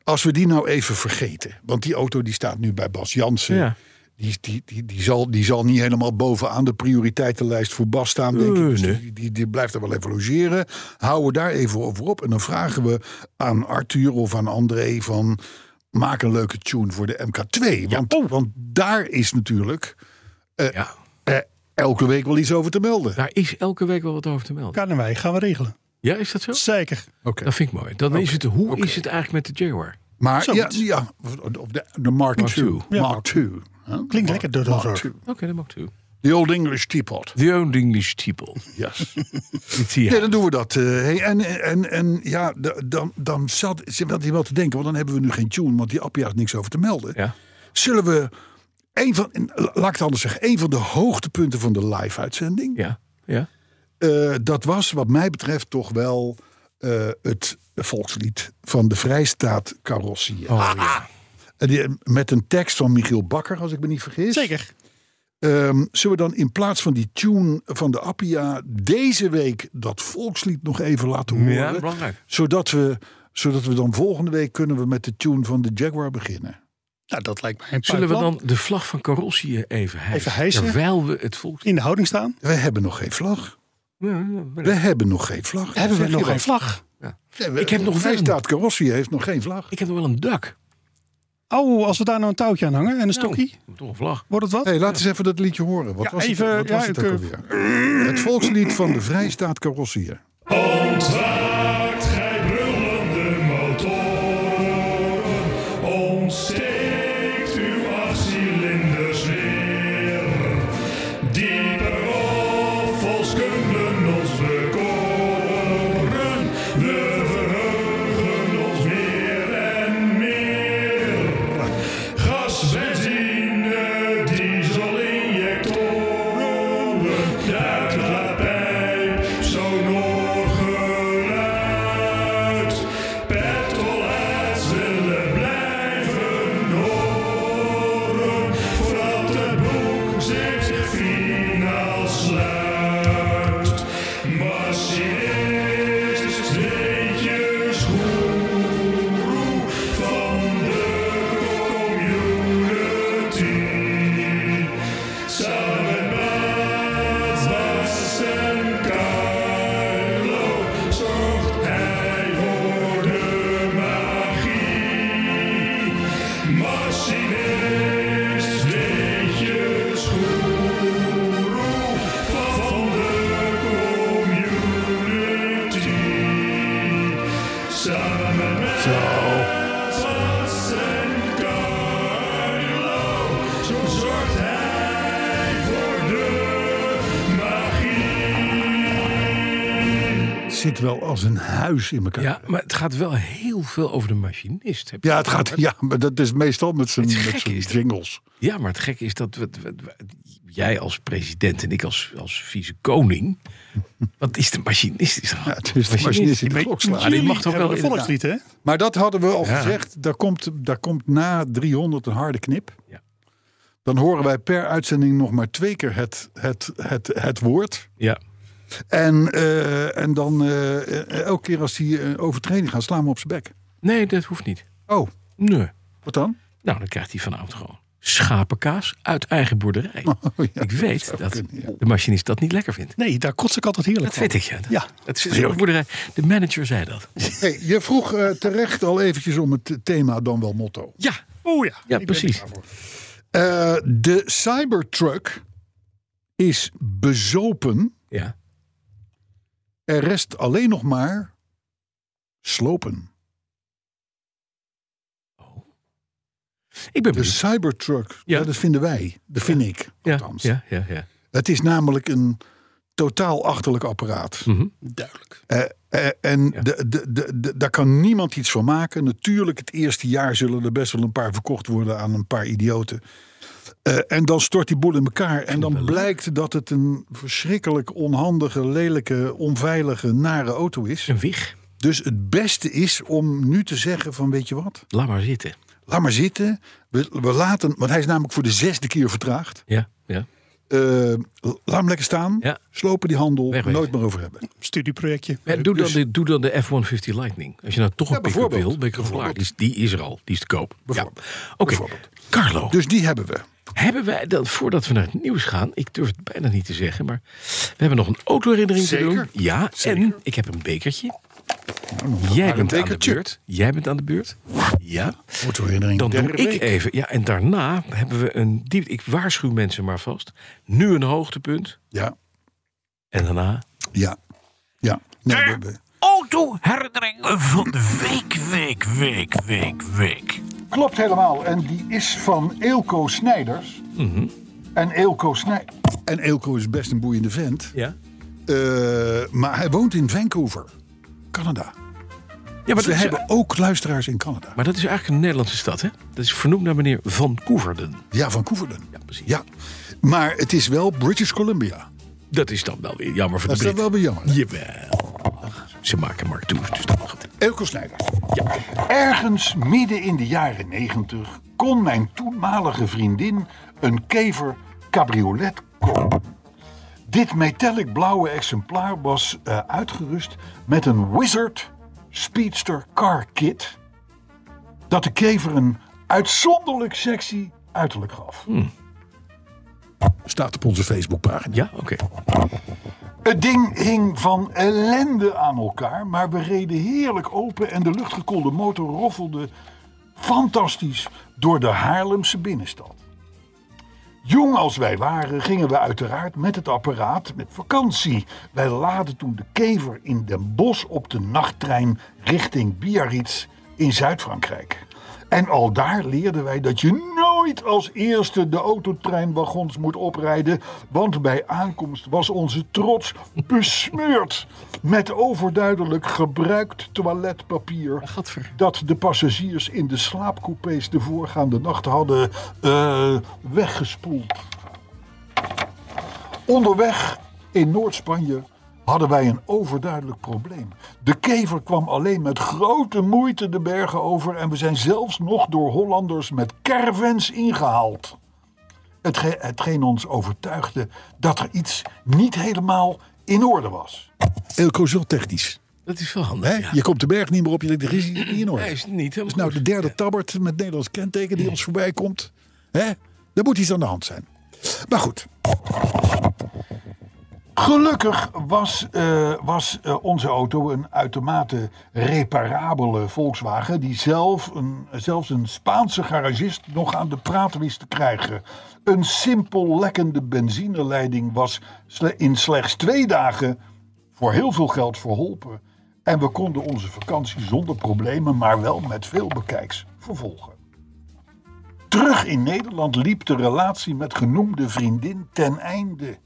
Speaker 2: als we die nou even vergeten. Want die auto die staat nu bij Bas Jansen.
Speaker 3: ja.
Speaker 2: Die, die, die, die, zal, die zal niet helemaal bovenaan de prioriteitenlijst voor Bas staan, denk ik.
Speaker 3: Eh,
Speaker 2: Dus
Speaker 3: nee.
Speaker 2: die, die, die blijft er wel even logeren. Houden we daar even over op. En dan vragen we aan Arthur of aan André van... maak een leuke tune voor de MK2. Want,
Speaker 3: Oh.
Speaker 2: want daar is natuurlijk
Speaker 3: ja.
Speaker 2: eh, elke week wel iets over te melden.
Speaker 3: Daar is elke week wel wat over te melden.
Speaker 4: Kan en wij gaan we regelen.
Speaker 3: Ja, is dat zo?
Speaker 4: Zeker.
Speaker 2: Oké.
Speaker 3: Dat vind ik mooi. Dan is het, hoe is het eigenlijk met de Jaguar?
Speaker 2: Maar ja,
Speaker 4: Zoiets.
Speaker 2: ja, op de, de Mark
Speaker 3: Mark
Speaker 2: II.
Speaker 3: II.
Speaker 4: Ja.
Speaker 2: Mark II. hè?
Speaker 4: Klinkt lekker, de
Speaker 2: Mark
Speaker 4: Rover.
Speaker 2: II.
Speaker 3: Oké, dat mag toe.
Speaker 2: The Old English Teapot.
Speaker 3: The old English people.
Speaker 2: Yes.
Speaker 3: Dit zie je.
Speaker 2: Ja, dan doen we dat. eh. hey, en, en, en ja, d- dan, dan zat, zat hij wel te denken, want dan hebben we nu geen tune, want die Appia had niks over te melden.
Speaker 3: Ja.
Speaker 2: Zullen we, een van, en la- laat ik het anders zeggen, een van de hoogtepunten van de live-uitzending,
Speaker 3: Ja. ja.
Speaker 2: eh, dat was wat mij betreft toch wel eh, het volkslied van de Vrijstaat Carrossier.
Speaker 3: Oh, ja.
Speaker 2: En die- Met een tekst van Michiel Bakker, als ik me niet vergis.
Speaker 4: Zeker.
Speaker 2: Ehm, zullen we dan in plaats van die tune van de Appia deze week dat volkslied nog even laten horen?
Speaker 3: ja, belangrijk.
Speaker 2: zodat, we, zodat we dan volgende week kunnen we met de tune van de Jaguar beginnen.
Speaker 4: Nou, dat lijkt mij een
Speaker 3: Zullen we
Speaker 4: puinplan.
Speaker 3: dan de vlag van Carrossier even hijsen?
Speaker 4: Even hijsen?
Speaker 3: Terwijl we het volk...
Speaker 4: in de houding staan?
Speaker 2: We hebben nog geen vlag.
Speaker 3: Ja, ja,
Speaker 2: We
Speaker 3: ja.
Speaker 2: hebben nog geen vlag.
Speaker 4: Hebben we
Speaker 2: Zeg je
Speaker 4: nog
Speaker 2: wel.
Speaker 4: geen vlag?
Speaker 2: Nee, we-
Speaker 3: Ik heb nog
Speaker 2: Hij
Speaker 3: wel-
Speaker 2: staat Carrossie heeft nog geen vlag.
Speaker 3: Ik heb nog wel een dak.
Speaker 4: Oh, als we daar nou een touwtje aan hangen en een stokje,
Speaker 3: Nou, toch een vlag.
Speaker 4: wordt het wat?
Speaker 2: Hey, laat eens even dat liedje horen. Wat
Speaker 4: Ja,
Speaker 2: was
Speaker 4: even-
Speaker 2: het, wat was
Speaker 4: ja,
Speaker 2: het
Speaker 4: ik,
Speaker 2: ook alweer? Het volkslied van de Vrijstaat Carrossier.
Speaker 6: Ontwaakt gij brullende motoren, ontsteekt uw acht cilinders weer. Diepe roffels kunnen ons bekoren, we verheugen ons meer en meer. Gas, benzine, diesel, injectoren, duit de pijp, zo nog geluid. Petrolheads willen blijven horen, voordat de boek zich finaal sluit. Machinist, weet je schoeroe van de community. Samen met Bas en Carlo zorgt hij voor de magie. Machinist, weet je schoeroe van de community. Samen met Bas en Carlo zo zorgt hij voor de magie.
Speaker 2: Zit wel als een huis in elkaar.
Speaker 3: Ja, maar het gaat wel heel veel over de machinist. Heb je
Speaker 2: Ja, het gaat, ja, maar dat is meestal met zijn
Speaker 3: Het gekke is dat-
Speaker 2: jingles.
Speaker 3: Ja, maar het gekke is dat we, we- we- jij als president en ik als, als vice-koning. Wat is de machinist? Is
Speaker 2: Ja, het is de machinist die de
Speaker 3: weet-
Speaker 2: klok slaat.
Speaker 3: Ja, die mag
Speaker 4: Jullie
Speaker 3: toch
Speaker 4: hebben
Speaker 3: wel
Speaker 4: een
Speaker 3: inderdaad-
Speaker 4: volkslied, hè?
Speaker 2: Maar dat hadden we al
Speaker 3: Ja.
Speaker 2: gezegd. Daar komt, daar komt na 300 een harde knip.
Speaker 3: Ja.
Speaker 2: Dan horen wij per uitzending nog maar twee keer het, het, het, het woord.
Speaker 3: Ja,
Speaker 2: En, eh, en dan eh, eh, elke keer als die eh, overtreding gaat, slaan we op zijn bek.
Speaker 3: nee, dat hoeft niet.
Speaker 2: Oh,
Speaker 3: Nee.
Speaker 2: wat dan?
Speaker 3: Nou, dan krijgt hij vanavond gewoon schapenkaas uit eigen boerderij.
Speaker 2: Oh, ja.
Speaker 3: ik weet dat, de machinist dat niet lekker vindt.
Speaker 4: Nee, daar kots ik altijd heerlijk
Speaker 3: Dat weet ik, ja. Dat,
Speaker 4: Ja.
Speaker 3: dat is een boerderij. De manager zei dat.
Speaker 2: Hey, je vroeg eh, terecht al eventjes om het thema dan wel motto.
Speaker 3: Ja,
Speaker 4: Oh ja.
Speaker 3: ja precies.
Speaker 2: Eh, de Cybertruck is bezopen.
Speaker 3: Ja.
Speaker 2: Er rest alleen nog maar slopen.
Speaker 3: Ik ben
Speaker 2: De
Speaker 3: benieuwd.
Speaker 2: Cybertruck,
Speaker 3: Ja.
Speaker 2: ja. dat vinden wij. Dat vind ik,
Speaker 3: Ja,
Speaker 2: althans.
Speaker 3: ja, ja. ja.
Speaker 2: Het is namelijk een totaal achterlijk apparaat.
Speaker 3: Mhm.
Speaker 4: Duidelijk.
Speaker 2: Eh, eh, en
Speaker 3: Ja.
Speaker 2: de, de, de, de- daar kan niemand iets van maken. Natuurlijk, het eerste jaar zullen er best wel een paar verkocht worden aan een paar idioten. Eh, en dan stort die boel in elkaar. En dan blijkt dat het een verschrikkelijk onhandige, lelijke, onveilige, nare auto is.
Speaker 3: Een wig.
Speaker 2: Dus het beste is om nu te zeggen van weet je wat?
Speaker 3: Laat maar zitten.
Speaker 2: Laat maar zitten. We, we laten, want hij is namelijk voor de zesde keer vertraagd.
Speaker 3: Ja, ja.
Speaker 2: Eh, laat hem lekker staan.
Speaker 3: Ja.
Speaker 2: Slopen die handel.
Speaker 3: Wegwezen.
Speaker 2: Nooit meer over hebben.
Speaker 4: Studieprojectje.
Speaker 3: Ja,
Speaker 2: Eh,
Speaker 3: doe, dan de, doe dan de F-150 Lightning. Als je nou toch een pick-up
Speaker 2: dus- bijvoorbeeld.
Speaker 3: wil, ben ik er klaar. Die, is- die is er al. Die is te koop. Ja.
Speaker 2: Bijvoorbeeld.
Speaker 3: Oké,
Speaker 2: Bijvoorbeeld.
Speaker 3: Carlo.
Speaker 2: Dus die hebben we.
Speaker 3: Hebben wij dan, voordat we naar het nieuws gaan... Ik durf het bijna niet te zeggen, maar... We hebben nog een autoherinnering te
Speaker 2: Zeker.
Speaker 3: doen. Ja, en ik heb een bekertje. Jij bent aan de
Speaker 2: bekertje.
Speaker 3: beurt. Jij bent aan de beurt. Ja.
Speaker 2: Autoherinnering.
Speaker 3: Dan doe
Speaker 2: der week.
Speaker 3: ik even. Ja, en daarna hebben we een... diep- Ik waarschuw mensen maar vast. Nu een hoogtepunt.
Speaker 2: Ja,
Speaker 3: En daarna...
Speaker 2: ja, ja. Nee, we- we-
Speaker 7: autoherinnering van de week, week, week, week, week.
Speaker 2: Klopt helemaal. En die is van Eelco Snijders. En Eelco Snij- En Eelco is best een boeiende vent.
Speaker 3: Ja.
Speaker 2: Eh, maar hij woont in Vancouver, Canada.
Speaker 3: Ja, maar
Speaker 2: Dus
Speaker 3: dat,
Speaker 2: we
Speaker 3: is,
Speaker 2: hebben ook luisteraars in Canada.
Speaker 3: maar dat is eigenlijk een Nederlandse stad, hè? Dat is vernoemd naar meneer Van Koeverden.
Speaker 2: Ja, Vancouver dan.
Speaker 3: Ja, precies.
Speaker 2: Ja. Maar het is wel British Columbia.
Speaker 3: Dat is dan wel weer jammer voor
Speaker 2: Dat
Speaker 3: de
Speaker 2: is dan
Speaker 3: Britten.
Speaker 2: wel weer jammer.
Speaker 3: Jawel. Ze maken Mark Toes, dus dat mag het.
Speaker 2: Eelco Snijders.
Speaker 3: Ja.
Speaker 2: Ergens midden in de jaren 90 kon mijn toenmalige vriendin een kever cabriolet kopen. Dit metallic blauwe exemplaar was eh, uitgerust met een Wizard Speedster Car Kit. Dat de kever een uitzonderlijk sexy uiterlijk gaf. Hm. Staat op onze Facebookpagina.
Speaker 3: Ja, oké.
Speaker 2: Het ding hing van ellende aan elkaar, maar we reden heerlijk open en de luchtgekoelde motor roffelde fantastisch door de Haarlemse binnenstad. Jong als wij waren, gingen we uiteraard met het apparaat met vakantie. Wij laden toen de kever in Den Bosch op de nachttrein richting Biarritz in Zuid-Frankrijk. En al daar leerden wij dat je nooit als eerste de autotreinwagons moet oprijden, want bij aankomst was onze trots besmeurd met overduidelijk gebruikt toiletpapier dat de passagiers in de slaapcoupés de voorgaande nacht hadden eh, weggespoeld. Onderweg in Noord-Spanje hadden wij een overduidelijk probleem. De kever kwam alleen met grote moeite de bergen over en we zijn zelfs nog door Hollanders met caravans ingehaald. Hetge- hetgeen ons overtuigde dat er iets niet helemaal in orde was. Elko is wel technisch.
Speaker 3: Dat is wel handig. ja.
Speaker 2: Je komt de berg niet meer op, je denkt, er is iets niet in orde.
Speaker 3: Hij is niet
Speaker 2: Dat
Speaker 3: helemaal
Speaker 2: is nou de
Speaker 3: goed.
Speaker 2: derde tabbert met Nederlands kenteken die ons voorbij komt. Hè? Daar moet iets aan de hand zijn. Maar goed. Gelukkig was, eh, was eh, onze auto een uitermate reparabele Volkswagen... die zelf een, zelfs een Spaanse garagist nog aan de praat wist te krijgen. Een simpel lekkende benzineleiding was sle- in slechts twee dagen voor heel veel geld verholpen. En we konden onze vakantie zonder problemen, maar wel met veel bekijks vervolgen. Terug in Nederland liep de relatie met genoemde vriendin ten einde.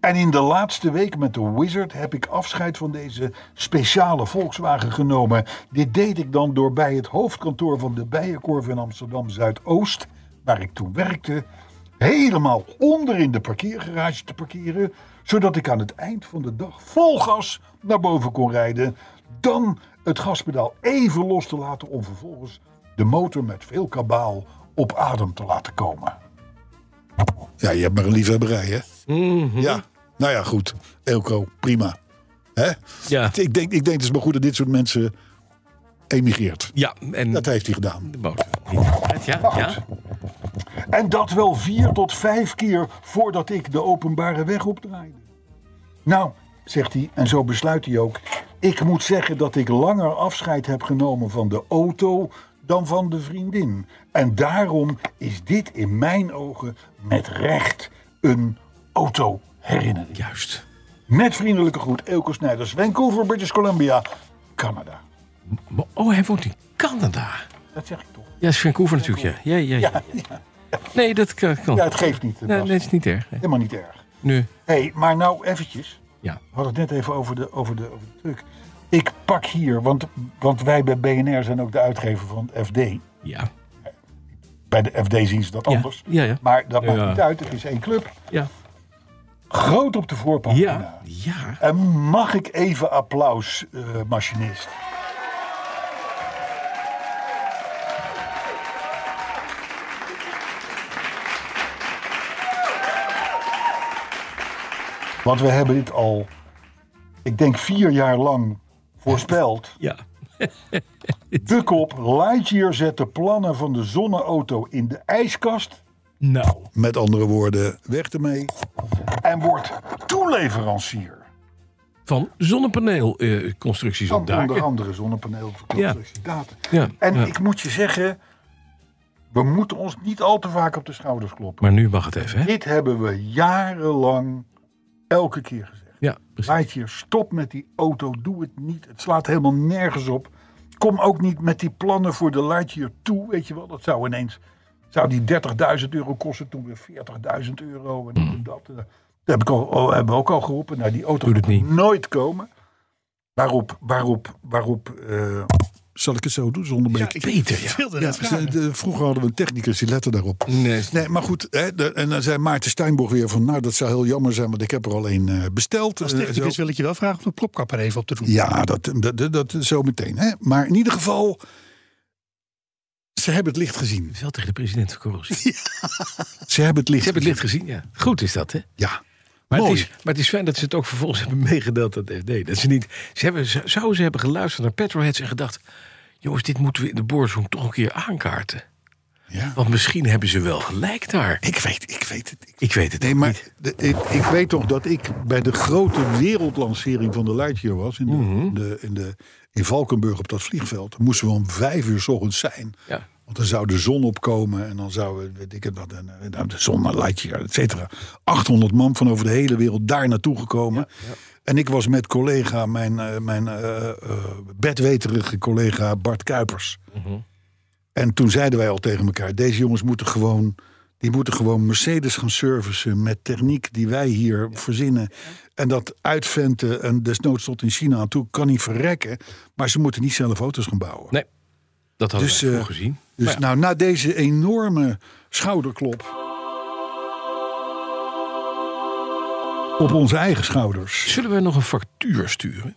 Speaker 2: En in de laatste week met de Wizard heb ik afscheid van deze speciale Volkswagen genomen. Dit deed ik dan door bij het hoofdkantoor van de Bijenkorf in Amsterdam Zuidoost, waar ik toen werkte, helemaal onder in de parkeergarage te parkeren, zodat ik aan het eind van de dag vol gas naar boven kon rijden. Dan het gaspedaal even los te laten om vervolgens de motor met veel kabaal op adem te laten komen. Ja, je hebt maar een liefhebberij, hè? Ja, nou ja, goed. Elko, prima. Hè?
Speaker 3: Ja.
Speaker 2: Ik, denk, ik denk het is maar goed dat dit soort mensen emigreert.
Speaker 3: Ja, en
Speaker 2: Dat heeft hij gedaan.
Speaker 3: de boot. Ja, ja, ja.
Speaker 2: En dat wel vier tot vijf keer voordat ik de openbare weg opdraaide. Nou, zegt hij, en zo besluit hij ook. Ik moet zeggen dat ik langer afscheid heb genomen van de auto dan van de vriendin. En daarom is dit in mijn ogen met recht een autoherinnering.
Speaker 3: Juist.
Speaker 2: Met vriendelijke groet, Eelco Snijders, Vancouver, British Columbia, Canada.
Speaker 3: Maar- Oh, hij woont in Canada.
Speaker 2: Dat zeg ik toch?
Speaker 3: Ja, is Vancouver natuurlijk, ja. Ja, ja, ja. Nee, dat kan. kan.
Speaker 2: Ja, het geeft niet. eh,
Speaker 3: nee,
Speaker 2: Bas.
Speaker 3: nee, is niet erg. Nee.
Speaker 2: Helemaal niet erg.
Speaker 3: Nu.
Speaker 2: Hé, hey, maar nou eventjes.
Speaker 3: Ja.
Speaker 2: We hadden het net even over de, over de, over de truc. Ik pak hier, want, want wij bij BNR zijn ook de uitgever van het FD.
Speaker 3: Ja.
Speaker 2: Bij de FD zien ze dat
Speaker 3: Ja.
Speaker 2: anders.
Speaker 3: Ja, ja.
Speaker 2: Maar dat
Speaker 3: Ja.
Speaker 2: maakt niet uit, het is één club.
Speaker 3: Ja.
Speaker 2: Groot op de voorpagina.
Speaker 3: Ja. Ja.
Speaker 2: En mag ik even applaus, eh, machinist? Want we hebben dit al, ik denk vier jaar lang voorspeld.
Speaker 3: Ja.
Speaker 2: De kop, Lightyear zet de plannen van de zonneauto in de ijskast.
Speaker 3: Nou.
Speaker 8: Met andere woorden, weg ermee.
Speaker 2: En wordt toeleverancier.
Speaker 3: Van zonnepaneelconstructies op
Speaker 2: Van onder
Speaker 3: daken.
Speaker 2: andere zonnepaneel voor
Speaker 3: Ja.
Speaker 2: elektriciteit.
Speaker 3: Ja,
Speaker 2: En
Speaker 3: ja.
Speaker 2: ik moet je zeggen, we moeten ons niet al te vaak op de schouders kloppen.
Speaker 3: Maar nu mag het even, hè?
Speaker 2: Dit hebben we jarenlang elke keer gezegd.
Speaker 3: Ja, precies.
Speaker 9: Maatje, stop met die auto. Doe het niet. Het slaat helemaal nergens op. Kom ook niet met die plannen voor de Lightyear toe. Weet je wel, dat zou ineens... Zou die 30.000 euro kosten, toen weer 40.000 euro. En dit en dat. Eh, Dat heb ik al, al- hebben we ook al geroepen. Nou, die auto
Speaker 3: Hmm. Doe het
Speaker 9: gaat
Speaker 3: niet.
Speaker 9: nooit komen. Waarop, waarop, waarop... eh, zal ik het zo doen zonder
Speaker 4: Ja,
Speaker 9: beetje?
Speaker 4: ik
Speaker 3: Peter, ja.
Speaker 4: wilde
Speaker 2: Ja,
Speaker 4: dat vragen.
Speaker 2: de- de- vroeger hadden we een technicus die lette daarop.
Speaker 3: Nee,
Speaker 2: Nee, maar goed. Hè, de- en dan zei Maarten Steinboeg weer van... nou, dat zou heel jammer zijn, want ik heb er al één eh, besteld.
Speaker 4: Als
Speaker 2: Eh, zo.
Speaker 4: technicus wil ik je wel vragen om de plopkap er even op te doen.
Speaker 2: Ja, dat, dat, dat, dat zo meteen. Hè. Maar in ieder geval... Ze hebben het licht gezien.
Speaker 3: wel tegen de president van corruptie. Ze
Speaker 2: Ze hebben het licht
Speaker 3: hebben het licht gezien, ja. Goed is dat, hè?
Speaker 2: Ja.
Speaker 3: Maar het,
Speaker 2: Mooi.
Speaker 3: is, maar het is fijn dat ze het ook vervolgens hebben meegedeeld aan het FD. Dat ze niet, ze hebben, z- zouden ze hebben geluisterd naar Petroheads en gedacht... jongens, dit moeten we in de boardroom toch een keer aankaarten.
Speaker 2: Ja.
Speaker 3: Want misschien hebben ze wel gelijk daar.
Speaker 2: Ik weet, ik weet het. Ik-
Speaker 3: Ik weet het
Speaker 2: Nee,
Speaker 3: ook
Speaker 2: maar
Speaker 3: niet.
Speaker 2: de- ik, ik weet toch dat ik bij de grote wereldlancering van de Lightyear was. In, de,
Speaker 3: Mhm.
Speaker 2: de, in, de, in Valkenburg op dat vliegveld. Moesten we om vijf uur s ochtends zijn.
Speaker 3: Ja.
Speaker 2: Want dan zou de zon opkomen en dan zou weet ik het wat, en, eh, nou, de zon, een Lightyear, et cetera. 800 man van over de hele wereld daar naartoe gekomen. En ik was met collega, mijn, eh, mijn eh, eh, bedweterige collega Bart Kuipers. En toen zeiden wij al tegen elkaar: deze jongens moeten gewoon. Die moeten gewoon Mercedes gaan servicen met techniek die wij hier verzinnen. En dat uitventen en desnoods tot in China aan toe kan niet verrekken. Maar ze moeten niet zelf auto's gaan bouwen.
Speaker 3: Nee, dat hadden
Speaker 2: Dus,
Speaker 3: we
Speaker 2: eh,
Speaker 3: vroeger gezien.
Speaker 2: Dus nou, na deze enorme schouderklop. Op onze eigen schouders.
Speaker 3: Zullen we nog een factuur sturen?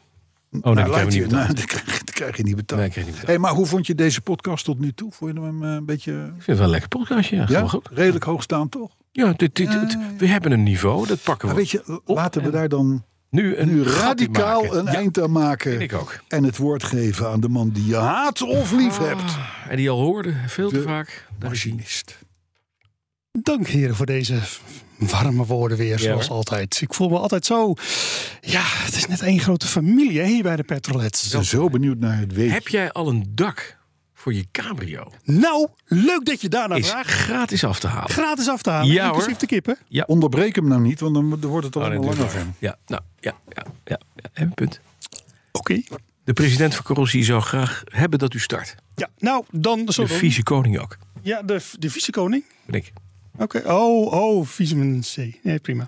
Speaker 3: Oh, nee,
Speaker 2: Nou,
Speaker 3: dat hebben we
Speaker 2: laat
Speaker 3: niet
Speaker 2: je- nou,
Speaker 3: betaald.
Speaker 2: dat, krijg, dat krijg je niet betaald.
Speaker 3: Nee, ik krijg niet betaald.
Speaker 2: Hey, maar hoe vond je deze podcast tot nu toe? Vond je hem eh, een beetje
Speaker 3: Ik vind het wel een lekker podcastje. Ja,
Speaker 2: ja,
Speaker 3: gewoon goed.
Speaker 2: redelijk hoogstaand, toch?
Speaker 3: ja, dit, dit, het- we hebben een niveau, dat pakken we.
Speaker 2: Maar weet je,
Speaker 3: op
Speaker 2: laten we
Speaker 3: en-
Speaker 2: daar dan
Speaker 3: nu een
Speaker 2: nu
Speaker 3: gat in
Speaker 2: radicaal
Speaker 3: maken.
Speaker 2: een
Speaker 3: Ja,
Speaker 2: eind aan maken.
Speaker 3: vind ik ook. Ah.
Speaker 2: En het woord geven aan de man die je haat of lief hebt.
Speaker 3: En die al hoorde, veel te
Speaker 2: De
Speaker 3: vaak. Daar is hij.
Speaker 2: Machinist.
Speaker 4: Dank heren voor deze warme woorden weer, zoals
Speaker 3: hoor.
Speaker 4: altijd. Ik voel me altijd zo... Ja, het is net één grote familie hè, hier bij de Petrolheads.
Speaker 2: Ik ben zo benieuwd naar het weetje.
Speaker 3: Heb jij al een dak voor je cabrio?
Speaker 4: Nou, leuk dat je daarna
Speaker 3: Is
Speaker 4: vraagt.
Speaker 3: gratis af te halen.
Speaker 4: Gratis af te halen,
Speaker 3: Ja,
Speaker 4: inclusief
Speaker 3: hoor.
Speaker 4: de kippen.
Speaker 2: Onderbreek hem nou niet, want dan wordt het allemaal
Speaker 3: Oh, nee,
Speaker 2: langer
Speaker 3: natuurlijk.
Speaker 2: van.
Speaker 3: Ja, nou, ja, ja, ja, ja. Heb een punt.
Speaker 4: Oké.
Speaker 3: De president van Corrossie zou graag hebben dat u start.
Speaker 4: Ja, nou, dan... Zo
Speaker 3: De vieze koning ook,
Speaker 4: Ja, de, de vicekoning.
Speaker 3: ben ik.
Speaker 4: Oké, oh, oh, vitamine C. Nee, prima.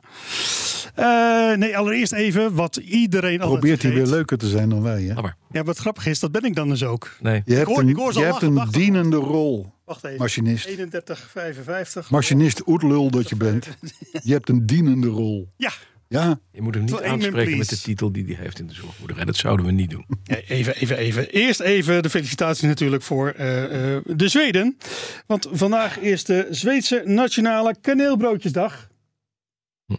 Speaker 4: Eh, nee, allereerst even wat iedereen
Speaker 3: Oh,
Speaker 4: altijd
Speaker 2: Probeert hij weer
Speaker 4: vergeet.
Speaker 2: leuker te zijn dan wij, hè?
Speaker 3: Laat maar.
Speaker 4: Ja, wat grappig is, dat ben ik dan dus ook.
Speaker 3: Nee.
Speaker 2: Je hebt
Speaker 4: hoor-
Speaker 2: een,
Speaker 4: ik hoor ze
Speaker 2: je
Speaker 4: al
Speaker 2: hebt
Speaker 4: lachen,
Speaker 2: een
Speaker 4: wacht.
Speaker 2: dienende rol.
Speaker 4: Wacht even.
Speaker 2: Machinist.
Speaker 4: 31,55.
Speaker 2: Machinist, oetlul dat je bent. Je hebt een dienende rol.
Speaker 4: Ja,
Speaker 2: Ja,
Speaker 3: Je moet hem niet
Speaker 4: Voor Eamon
Speaker 3: aanspreken met
Speaker 4: Please.
Speaker 3: de titel die hij heeft in de zorgmoederij. Dat zouden we niet doen.
Speaker 4: Nee, Even, even, even. Eerst even de felicitaties natuurlijk voor eh, eh, de Zweden. Want vandaag is de Zweedse Nationale Kaneelbroodjesdag.
Speaker 2: Hm.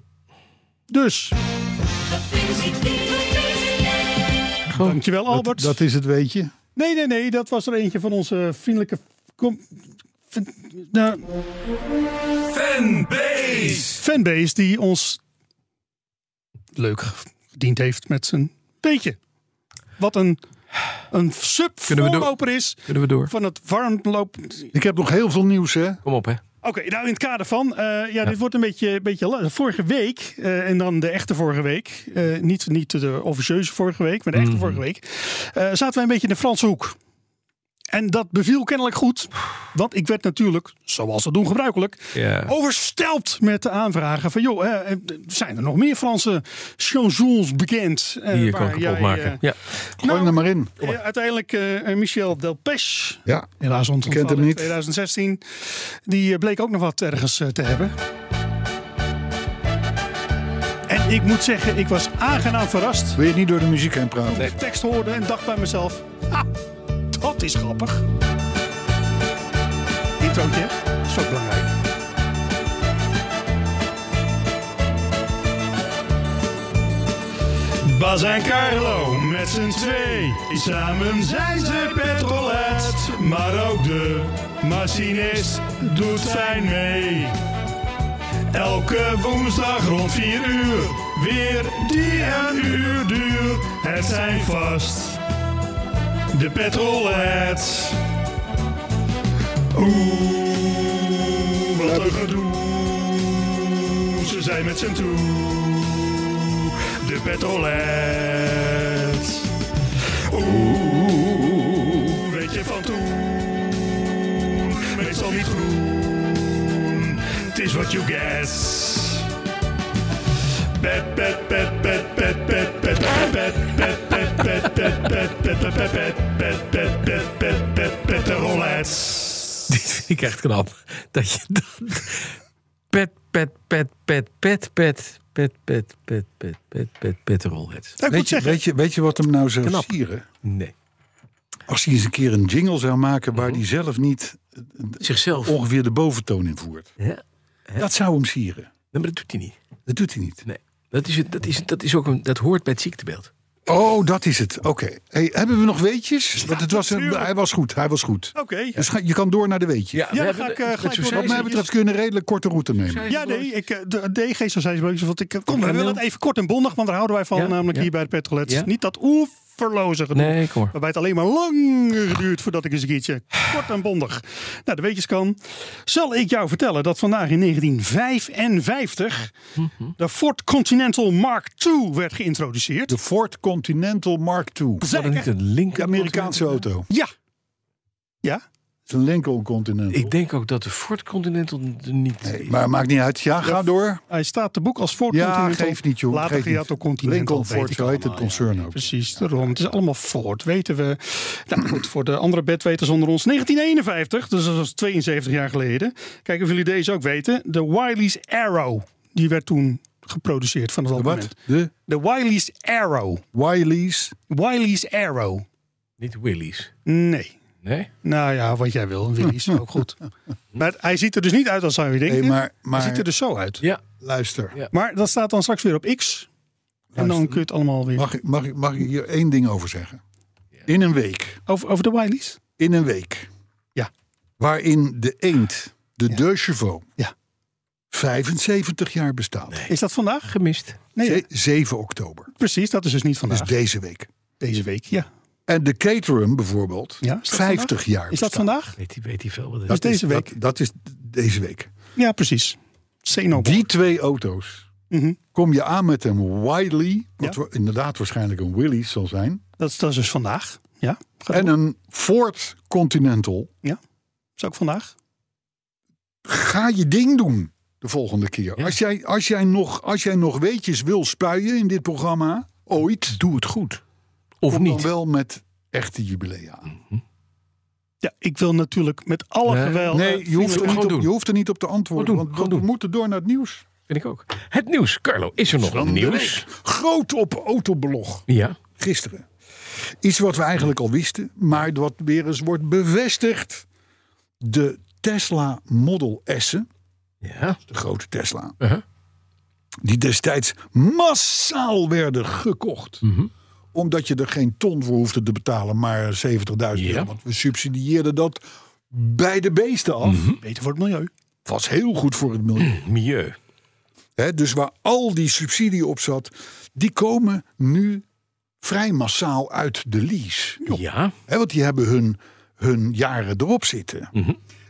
Speaker 4: Dus, dankjewel
Speaker 2: dat,
Speaker 4: Albert.
Speaker 2: dat is het weetje.
Speaker 4: Nee, nee, nee, dat was er eentje van onze vriendelijke... Com... fan- nou,
Speaker 6: Fanbase!
Speaker 4: fanbase die ons leuk gediend heeft met zijn beetje. Wat een, een
Speaker 3: Kunnen we door?
Speaker 4: sub-voorloper is
Speaker 3: Kunnen we door?
Speaker 4: van het warmloop...
Speaker 2: Ik heb nog heel veel nieuws, hè?
Speaker 3: Kom op, hè.
Speaker 4: Oké, nou in het kader van, eh, ja, dit wordt een beetje, beetje la- vorige week eh, en dan de echte vorige week, eh, niet, niet de officieuze vorige week, maar de echte
Speaker 3: Mhm.
Speaker 4: vorige week, eh, zaten wij een beetje in de Franse hoek. En dat beviel kennelijk goed, want ik werd natuurlijk, zoals we doen gebruikelijk,
Speaker 3: Ja.
Speaker 4: overstelpt met de aanvragen van, joh, eh, eh, zijn er nog meer Franse chansons bekend? eh,
Speaker 3: Hier
Speaker 4: waar
Speaker 3: kan ik hem
Speaker 4: jij,
Speaker 3: opmaken.
Speaker 4: eh,
Speaker 3: Ja.
Speaker 2: Gooi hem er maar in.
Speaker 4: eh, uiteindelijk eh, Michel Delpech,
Speaker 2: Ja.
Speaker 4: Helaas
Speaker 2: Kent
Speaker 4: ontvallen
Speaker 2: hem
Speaker 4: in
Speaker 2: niet.
Speaker 4: 2016. Die eh, bleek ook nog wat ergens eh, te hebben. En ik moet zeggen, ik was aangenaam verrast.
Speaker 2: Wil je niet door de muziek heen praten?
Speaker 4: Ik de tekst hoorde en dacht bij mezelf... Ah, dat is grappig. Introotje, is ook belangrijk. Bas en Carlo met z'n twee. Samen zijn ze petrolheads. Maar ook de machinist doet fijn mee. Elke woensdag rond 4 uur. Weer die een uur duur. Het zijn vast de petrolheads. Oeh, wat een gedoe. Ze zijn met z'n toe. de petrolheads. Oeh, weet je van toen? Meestal niet groen, het is wat you guess. Pet, pet, pet, pet, pet, pet, pet, pet, pet, pet, pet, pet, pet, pet, pet, pet, pet, pet, pet, pet, pet, petrolheads.
Speaker 3: Dit vind ik echt knap. Dat je dat... Pet, pet, pet, pet, pet, pet, pet, pet, pet, pet, pet, pet, pet, rolheads.
Speaker 2: Weet, je, weet, je, weet je wat hem nou zou
Speaker 3: Knap.
Speaker 2: sieren?
Speaker 3: Nee.
Speaker 2: Als hij eens een keer een jingle zou maken waar hij zelf niet
Speaker 3: Zichzelf. Ja,
Speaker 2: ongeveer de boventoon in voert.
Speaker 3: Oh. nee,
Speaker 2: Dat zou hem sieren.
Speaker 3: maar dat doet hij niet.
Speaker 2: Dat doet hij niet.
Speaker 3: Nee. Dat, is, dat, is, dat, is ook een, dat hoort bij het ziektebeeld.
Speaker 2: Oh, dat is het. Oké. Hey, hebben we nog weetjes? Want het was een, hij was goed. Hij was goed.
Speaker 4: Oké,
Speaker 2: Dus ga- je kan door naar de weetjes.
Speaker 3: we
Speaker 4: dan
Speaker 3: hebben
Speaker 4: ga ik,
Speaker 3: de-
Speaker 4: eh,
Speaker 3: het
Speaker 4: gelijk
Speaker 3: succes-
Speaker 4: door.
Speaker 2: Wat mij betreft kun je een redelijk korte route nemen.
Speaker 4: Ja, nee, ik, eh, de DG zou zijn ze want ik, eh, kom, we
Speaker 3: Kamil?
Speaker 4: willen het even kort en bondig, want daar houden wij van,
Speaker 3: Ja,
Speaker 4: namelijk
Speaker 3: ja.
Speaker 4: hier bij de Petrolets.
Speaker 3: Ja.
Speaker 4: Niet dat oeverloze gedoe,
Speaker 3: Nee, kom maar.
Speaker 4: waarbij het alleen maar lang duurt voordat ik eens een keertje kort en bondig Nou, de weetjes kan. Zal ik jou vertellen dat vandaag in 1955 de Ford Continental Mark II werd geïntroduceerd?
Speaker 2: De Ford Continental Mark II.
Speaker 3: Zou dat niet een link
Speaker 2: De Amerikaanse auto. Het
Speaker 4: Ja. Ja?
Speaker 2: is een Lincoln Continental.
Speaker 3: Ik denk ook dat de Ford Continental er niet.
Speaker 2: Nee, maar maakt niet uit. Ja, ga door.
Speaker 4: Hij staat te boek als Ford
Speaker 2: Ja,
Speaker 4: Continental.
Speaker 2: geef niet, joh.
Speaker 4: Later
Speaker 2: Geef niet.
Speaker 4: Giato Continental.
Speaker 2: Lincoln
Speaker 4: weet
Speaker 2: Ford,
Speaker 4: ik
Speaker 2: zo heet het
Speaker 4: allemaal.
Speaker 2: concern ook.
Speaker 4: Precies, daarom. Het is allemaal Ford, weten we. Nou goed, voor de andere bedweters onder ons. 1951, dus dat was 72 jaar geleden. Kijken of jullie deze ook weten. De Wiley's Arrow. Die werd toen geproduceerd vanaf dat moment.
Speaker 2: Wat? De
Speaker 4: De Wiley's Arrow.
Speaker 2: Wiley's.
Speaker 4: Wiley's Arrow.
Speaker 3: Niet Willys.
Speaker 4: Nee.
Speaker 3: Nee?
Speaker 4: Nou ja, wat jij wil, Willy, is ook goed. Maar hij ziet er dus niet uit als zou je denken.
Speaker 2: Nee, maar,
Speaker 4: Hij ziet
Speaker 2: maar
Speaker 4: er dus zo uit.
Speaker 3: Ja.
Speaker 2: luister.
Speaker 4: Maar dat staat dan straks weer op X. En dan kun je het allemaal weer...
Speaker 2: Mag ik, mag, ik, mag ik hier één ding over zeggen? In een week.
Speaker 4: Over, over de Wiley's?
Speaker 2: In een week.
Speaker 4: Ja.
Speaker 2: Waarin de eend, de deux chevaux,
Speaker 4: Ja.
Speaker 2: 75 jaar bestaat.
Speaker 4: Is dat vandaag?
Speaker 3: Gemist.
Speaker 4: Nee,
Speaker 2: Ze- 7 oktober.
Speaker 4: precies. Dat is dus niet
Speaker 2: Dus
Speaker 4: vandaag.
Speaker 2: deze week.
Speaker 4: Deze week, ja.
Speaker 2: En de Caterham bijvoorbeeld,
Speaker 4: Ja, is dat
Speaker 2: 50
Speaker 4: vandaag?
Speaker 2: jaar
Speaker 4: Is dat
Speaker 2: bestaat.
Speaker 4: vandaag?
Speaker 3: Weet hij, weet hij veel wat het
Speaker 4: Dat
Speaker 3: is.
Speaker 4: is deze week. Oh,
Speaker 2: Dat, dat is deze week.
Speaker 4: Ja, precies. Xenoblade.
Speaker 2: Die twee auto's.
Speaker 4: Mhm.
Speaker 2: Kom je aan met een Wiley, wat
Speaker 4: Ja.
Speaker 2: wa- inderdaad waarschijnlijk een Willys zal zijn.
Speaker 4: Dat, is- dat is dus vandaag. Ja. Gaat
Speaker 2: En
Speaker 4: door.
Speaker 2: een Ford Continental.
Speaker 4: is ook vandaag.
Speaker 2: Ga je ding doen de volgende keer.
Speaker 3: Ja.
Speaker 2: Als, jij, als, jij nog, als jij nog weetjes wil spuien in dit programma, ooit, doe het goed.
Speaker 3: Of
Speaker 2: Kom dan
Speaker 3: niet?
Speaker 2: wel met echte jubilea. aan.
Speaker 4: Ja, ik wil natuurlijk met alle
Speaker 3: Nee.
Speaker 4: geweld.
Speaker 2: Nee, je hoeft, er
Speaker 3: Gewoon
Speaker 2: niet op,
Speaker 3: doen.
Speaker 2: je hoeft er niet op te
Speaker 3: Gewoon
Speaker 2: antwoorden,
Speaker 3: doen,
Speaker 2: want
Speaker 3: gewoon
Speaker 2: we
Speaker 3: doen.
Speaker 2: moeten door naar het nieuws.
Speaker 3: Vind ik ook. Het nieuws, Carlo. Is er nog
Speaker 2: Van de
Speaker 3: nieuws?
Speaker 2: week. Groot op autoblog.
Speaker 3: Ja.
Speaker 2: gisteren. Iets wat we eigenlijk al wisten, maar wat weer eens wordt bevestigd. De Tesla Model S'en,
Speaker 3: Ja.
Speaker 2: de grote Tesla,
Speaker 3: Uh-huh.
Speaker 2: die destijds massaal werden gekocht.
Speaker 3: Mm-hmm.
Speaker 2: Omdat je er geen ton voor hoefde te betalen, maar 70.000
Speaker 3: Ja.
Speaker 2: euro. Want we subsidieerden dat bij de beesten af.
Speaker 3: Mm-hmm.
Speaker 4: Beter voor het milieu.
Speaker 2: Was heel goed voor het milieu.
Speaker 3: Milieu.
Speaker 2: Hè, dus waar al die subsidie op zat, die komen nu vrij massaal uit de lease.
Speaker 3: Ja.
Speaker 2: Hè, want die hebben hun, hun jaren erop zitten.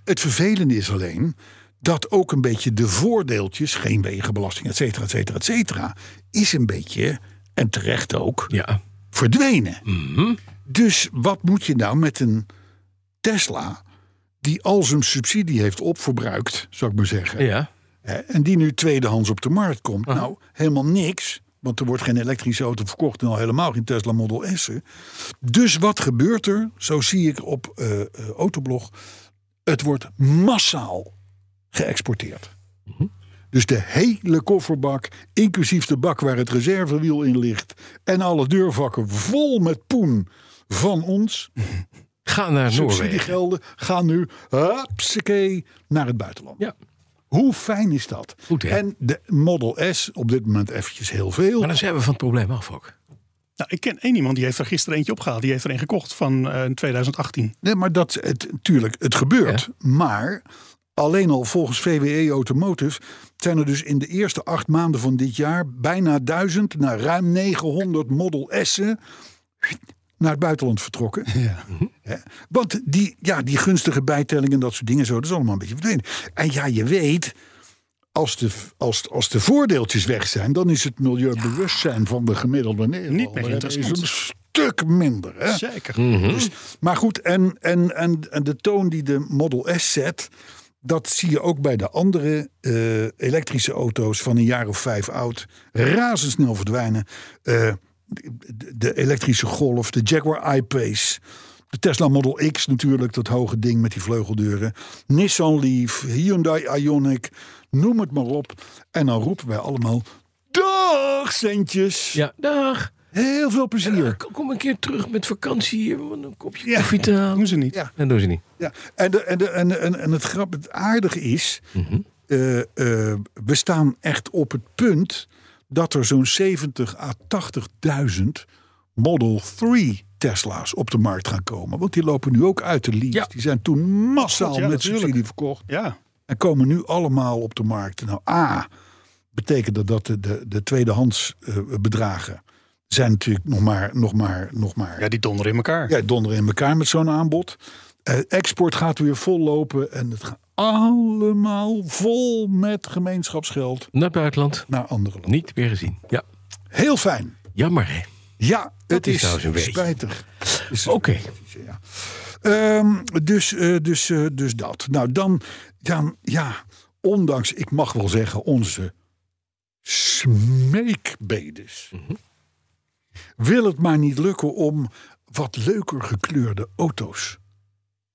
Speaker 2: Het vervelende is alleen dat ook een beetje de voordeeltjes, geen wegenbelasting, et cetera, et cetera, et cetera, is een beetje, en terecht ook,
Speaker 3: Ja.
Speaker 2: verdwenen. Dus wat moet je nou met een Tesla die al zijn subsidie heeft opverbruikt, zou ik maar zeggen,
Speaker 3: Ja.
Speaker 2: hè, en die nu tweedehands op de markt komt? Nou, helemaal niks. Want er wordt geen elektrische auto verkocht en al helemaal geen Tesla Model S'en. Dus wat gebeurt er? Zo zie ik op eh, eh, Autoblog. Het wordt massaal geëxporteerd. Dus de hele kofferbak, inclusief de bak waar het reservewiel in ligt. En alle deurvakken vol met poen van ons.
Speaker 3: Ga naar Noorwegen.
Speaker 2: Subsidiegelden gaan nu hupsakee, naar het buitenland.
Speaker 3: Ja.
Speaker 2: Hoe fijn is dat?
Speaker 3: Goed, hè?
Speaker 2: en de Model S, op dit moment eventjes heel veel.
Speaker 3: Maar dan zijn we van het probleem af ook.
Speaker 4: Nou, ik ken één iemand die heeft er gisteren eentje opgehaald. Die heeft er een gekocht van eh, 2018.
Speaker 2: Nee, maar dat, het, natuurlijk, het gebeurt. Maar alleen al volgens VWE Automotive zijn er dus in de eerste acht maanden van dit jaar bijna 1000 naar ruim 900 Model S'en naar het buitenland vertrokken. Hè? Want die, ja, die gunstige bijtellingen en dat soort dingen, zo, dat is allemaal een beetje verdwenen. En ja, je weet, Als de, als, als de voordeeltjes weg zijn, dan is het milieubewustzijn van de gemiddelde Nederlander
Speaker 10: meer
Speaker 2: is
Speaker 10: interessant.
Speaker 2: een stuk minder. Hè?
Speaker 10: Zeker.
Speaker 2: Dus, maar goed, en, en, en, en de toon die de Model S zet. Dat zie je ook bij de andere eh, elektrische auto's van een jaar of vijf oud. Razendsnel verdwijnen. Eh, de, de elektrische Golf, de Jaguar I-Pace. De Tesla Model X natuurlijk, dat hoge ding met die vleugeldeuren. Nissan Leaf, Hyundai Ioniq, noem het maar op. En dan roepen wij allemaal, dag centjes.
Speaker 3: Ja, dag.
Speaker 2: Heel veel plezier.
Speaker 3: Kom een keer terug met vakantie hier, om een kopje
Speaker 2: Ja.
Speaker 3: koffie te halen.
Speaker 4: Doen ze niet.
Speaker 3: En doen ze niet.
Speaker 2: Ja, en, de, en, de, en, en, en het, grap, het aardige is,
Speaker 10: Mhm.
Speaker 2: eh, eh, we staan echt op het punt dat er zo'n 70 à 80.000 Model 3 Tesla's op de markt gaan komen. Want die lopen nu ook uit de lease.
Speaker 3: Ja.
Speaker 2: Die zijn toen massaal
Speaker 10: God, ja,
Speaker 2: met
Speaker 10: natuurlijk.
Speaker 2: subsidie verkocht.
Speaker 10: Ja.
Speaker 2: En komen nu allemaal op de markt. Nou, A, betekent dat dat de, de, de tweedehands eh, bedragen zijn natuurlijk nog maar, nog maar, nog maar
Speaker 10: ja, die donderen in elkaar.
Speaker 2: ja, donderen in elkaar met zo'n aanbod. Eh, export gaat weer vol lopen en het gaat allemaal vol met gemeenschapsgeld
Speaker 3: Naar het buitenland.
Speaker 2: naar andere landen.
Speaker 3: Niet weer gezien. Ja.
Speaker 2: Heel fijn.
Speaker 3: Jammer, hè?
Speaker 2: Ja, het
Speaker 3: is
Speaker 2: is,
Speaker 3: nou eens een beetje.
Speaker 2: spijtig. Is-
Speaker 3: Oké.
Speaker 2: Ja. Ehm, dus, eh, dus, eh, dus dat. Nou, dan, dan, ja, ondanks, ik mag wel zeggen, onze smeekbedes. Wil het maar niet lukken om wat leuker gekleurde auto's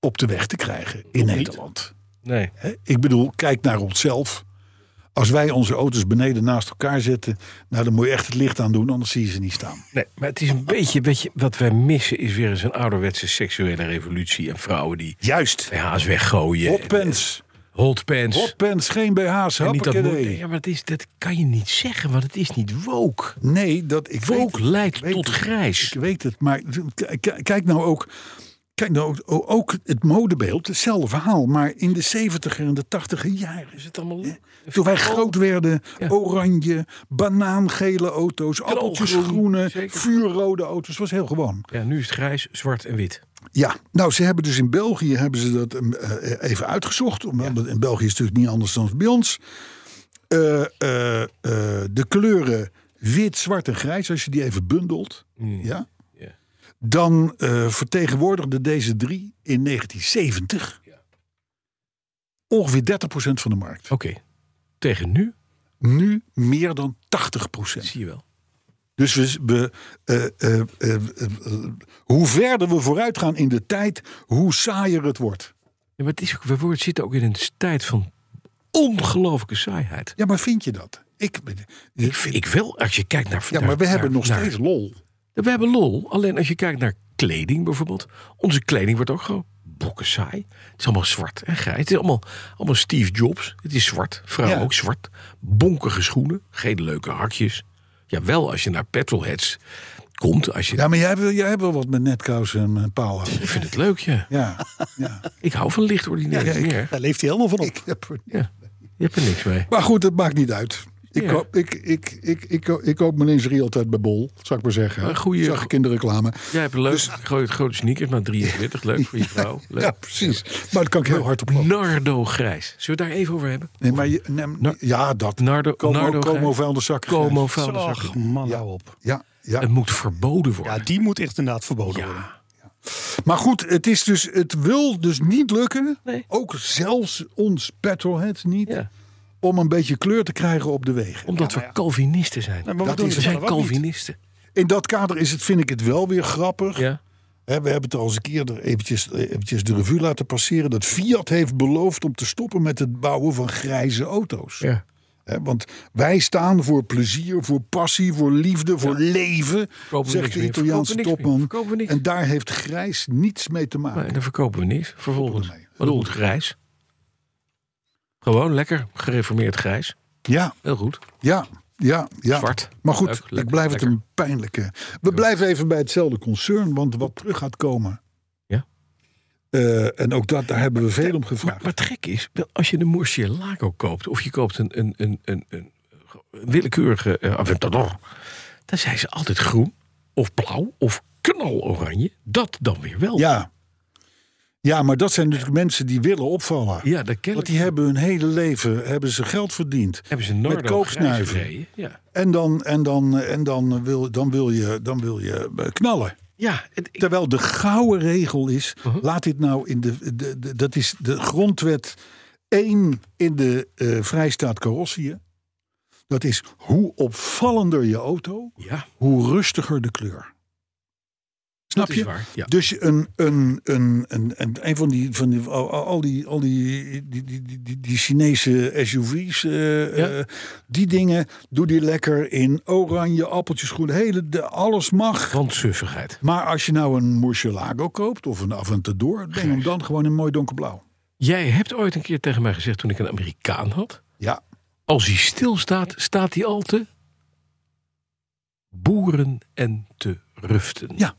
Speaker 2: op de weg te krijgen in Nederland.
Speaker 3: Nee.
Speaker 2: Hè? Ik bedoel, kijk naar onszelf. Als wij onze auto's beneden naast elkaar zetten, nou, dan moet je echt het licht aan doen, anders zie je ze niet staan.
Speaker 3: nee. Maar het is een beetje, weet je, wat wij missen is weer eens een ouderwetse seksuele revolutie. En vrouwen die
Speaker 2: Juist.
Speaker 3: BH's weggooien.
Speaker 2: Hot pants.
Speaker 3: Hot pants.
Speaker 2: Hot pants, geen BH's.
Speaker 3: En niet dat
Speaker 2: hoppakee.
Speaker 3: moet- ja, maar het is, dat kan je niet zeggen, want het is niet woke.
Speaker 2: Nee, dat ik weet
Speaker 3: Woke
Speaker 2: het,
Speaker 3: leidt
Speaker 2: ik weet
Speaker 3: tot
Speaker 2: het,
Speaker 3: grijs.
Speaker 2: Ik weet het, maar k- k- kijk nou ook. Kijk nou ook- ook, ook het modebeeld, hetzelfde verhaal. Maar in de 70er en de 80er jaren.
Speaker 3: Is het allemaal leuk?
Speaker 2: Toen wij groot werden,
Speaker 3: Ja.
Speaker 2: oranje, banaangele auto's, appeltjesgroene,
Speaker 3: zeker.
Speaker 2: vuurrode auto's. was heel gewoon.
Speaker 3: Ja, nu is het grijs, zwart en wit.
Speaker 2: Ja, nou ze hebben dus in België hebben ze dat eh, even uitgezocht. Omdat in België is het natuurlijk niet anders dan bij ons. Eh, eh, eh, de kleuren wit, zwart en grijs, als je die even bundelt. Ja?
Speaker 3: Mm. Ja.
Speaker 2: Dan eh vertegenwoordigden deze drie in 1970
Speaker 3: Ja.
Speaker 2: ongeveer 30% van de markt.
Speaker 3: Oké. Tegen nu,
Speaker 2: Nu meer dan 80%.
Speaker 3: zie je wel.
Speaker 2: Dus we, we, eh, eh, eh, eh, eh, hoe verder we vooruit gaan in de tijd, hoe saaier het wordt.
Speaker 3: Ja, maar het is ook, we worden- zitten ook in een tijd van ongelooflijke saaiheid.
Speaker 2: Ja, maar vind je dat? Ik,
Speaker 3: Ik, vind- ik wil, als je kijkt naar...
Speaker 2: ja,
Speaker 3: naar-
Speaker 2: maar we hebben
Speaker 3: naar-
Speaker 2: nog
Speaker 3: naar-
Speaker 2: steeds lol.
Speaker 3: We hebben lol, alleen als je kijkt naar kleding bijvoorbeeld. Onze kleding wordt ook gewoon bokken saai. Het is allemaal zwart en grijs. Het is allemaal, allemaal Steve Jobs. Het is zwart, vrouw
Speaker 2: Ja.
Speaker 3: ook zwart. Bonkige schoenen, geen leuke hakjes. Ja, wel als je naar petrolheads komt. Als je,
Speaker 2: Ja, maar jij, wil- jij hebt wel wat met netkous en eh, paal.
Speaker 3: Ik vind het leuk, ja.
Speaker 2: Ja, ja.
Speaker 3: Ik hou van licht ordinair
Speaker 2: Ja, ja, ik-
Speaker 3: meer.
Speaker 10: Daar leeft hij helemaal van op.
Speaker 2: Ik heb er-
Speaker 3: Ja. Je hebt er niks mee.
Speaker 2: Maar goed, dat maakt niet uit. Ik,
Speaker 3: Ja.
Speaker 2: koop, ik, ik, ik, ik, koop- ik koop mijn lingerie altijd bij Bol, zou ik maar zeggen.
Speaker 3: Een goeie-
Speaker 2: Zag ik in de reclame.
Speaker 3: Jij hebt een leuk, groot, grote sneakers, maar 43. Leuk voor je vrouw. Leuk.
Speaker 2: Dus- Ja, precies. Maar dat kan ik heel hard op lachen.
Speaker 3: Nardo grijs. Zullen we het daar even over hebben?
Speaker 2: Nee, maar je, nee, ja, dat.
Speaker 3: Nardo,
Speaker 2: Como,
Speaker 3: Nardo
Speaker 2: Como
Speaker 3: grijs.
Speaker 2: vuilniszakken.
Speaker 3: Como vuilniszakken.
Speaker 10: Ach, man,
Speaker 2: Ja.
Speaker 10: hou op.
Speaker 2: Ja, ja.
Speaker 3: Het moet verboden worden.
Speaker 10: Ja, die moet echt inderdaad verboden worden.
Speaker 2: Maar goed, het, is dus, het wil dus niet lukken.
Speaker 3: Nee.
Speaker 2: Ook zelfs ons petrolhead niet.
Speaker 3: Ja.
Speaker 2: Om een beetje kleur te krijgen op de wegen.
Speaker 3: Omdat we Calvinisten zijn.
Speaker 10: Nee, maar we
Speaker 2: Dat
Speaker 10: doen
Speaker 2: is-
Speaker 10: het
Speaker 3: we zijn
Speaker 10: zelf ook niet.
Speaker 3: Calvinisten.
Speaker 2: In dat kader is het, vind ik het wel weer grappig.
Speaker 3: Ja.
Speaker 2: Hè, we hebben het al eens een keer er eventjes, eventjes de revue laten passeren. Dat Fiat heeft beloofd om te stoppen met het bouwen van grijze auto's.
Speaker 3: ja.
Speaker 2: Hè, want wij staan voor plezier, voor passie, voor liefde, voor leven.
Speaker 3: Verkopen we
Speaker 2: zegt
Speaker 3: niks
Speaker 2: de
Speaker 3: meer.
Speaker 2: Italiaanse
Speaker 3: Verkopen we niks meer.
Speaker 2: topman.
Speaker 3: Verkopen we niks.
Speaker 2: En daar heeft grijs niets mee te maken.
Speaker 3: Maar dan verkopen we niks. Vervolgens.
Speaker 2: Stoppen ermee.
Speaker 3: Maar dat moet grijs. Gewoon lekker gereformeerd grijs.
Speaker 2: Ja,
Speaker 3: Heel goed.
Speaker 2: ja. Ja, ja.
Speaker 3: Zwart.
Speaker 2: Maar goed,
Speaker 3: Leuk,
Speaker 2: ik
Speaker 3: lekker,
Speaker 2: blijf het
Speaker 3: lekker.
Speaker 2: een pijnlijke. We blijven even bij hetzelfde concern, want wat terug gaat komen.
Speaker 3: Ja.
Speaker 2: Eh, en ook dat, daar hebben we veel om gevraagd.
Speaker 3: Maar wat gek is, wel, als je een Murcielago koopt... of je koopt een, een, een, een, een willekeurige eh, Aventador... dan zijn ze altijd groen of blauw of knaloranje. Dat dan weer wel.
Speaker 2: Ja. Ja, maar dat zijn natuurlijk mensen die willen opvallen.
Speaker 3: Ja, dat ken
Speaker 2: Want
Speaker 3: ik.
Speaker 2: die hebben hun hele leven hebben ze geld verdiend.
Speaker 3: Hebben ze Nardo
Speaker 2: met
Speaker 3: grijs
Speaker 2: kooksnuiven.
Speaker 3: gereden? Ja,
Speaker 2: En, dan, en, dan, en dan, wil, dan, wil je, dan wil je eh, knallen.
Speaker 3: ja het- ik- Mhm.
Speaker 2: Terwijl de gouden regel is, laat dit nou in de, de, de- dat is de grondwet 1 in de eh, Vrijstaat Carrossië. Dat is hoe opvallender je auto,
Speaker 3: ja
Speaker 2: hoe rustiger de kleur. Snap
Speaker 3: dat
Speaker 2: je?
Speaker 3: is waar. Ja.
Speaker 2: Dus een, een, een, een, een, een van die, van die, al, al- al die, al die, die, die, die, die- die Chinese SUV's, eh,
Speaker 3: Ja.
Speaker 2: eh, die dingen, doe die lekker in oranje, appeltjes, groen, hele, de, alles mag.
Speaker 3: Brandsuffigheid.
Speaker 2: Maar als je nou een Murcielago koopt of een Aventador, breng hem dan gewoon in mooi donkerblauw.
Speaker 3: Jij hebt ooit een keer tegen mij gezegd toen ik een Amerikaan had.
Speaker 2: Ja.
Speaker 3: Als hij stilstaat, staat hij al te boeren en te ruften.
Speaker 2: Ja.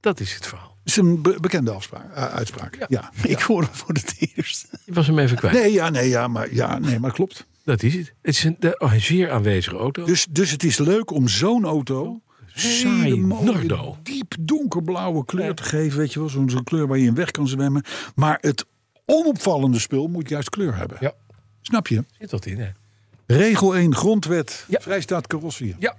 Speaker 3: Dat is het verhaal.
Speaker 2: Dat is een be- bekende afspraak, eh, uitspraak. Ja.
Speaker 10: Ik hoor hem voor het eerst.
Speaker 3: Je was hem even kwijt.
Speaker 2: Nee, ja, nee, ja, maar, ja, nee, maar klopt.
Speaker 3: Dat is het. Het is een, de- oh, een zeer aanwezige auto.
Speaker 2: Dus, dus het is leuk om zo'n auto
Speaker 3: Saai
Speaker 2: hele mooie,
Speaker 3: Nardo.
Speaker 2: diep donkerblauwe kleur te geven. Weet je wel, zo'n zo'n kleur waar je in weg kan zwemmen. Maar het onopvallende spul moet juist kleur hebben.
Speaker 3: Ja.
Speaker 2: Snap je?
Speaker 3: Zit dat in, hè?
Speaker 2: Regel 1, grondwet,
Speaker 3: Ja.
Speaker 2: vrijstaat carrosserie.
Speaker 3: Ja.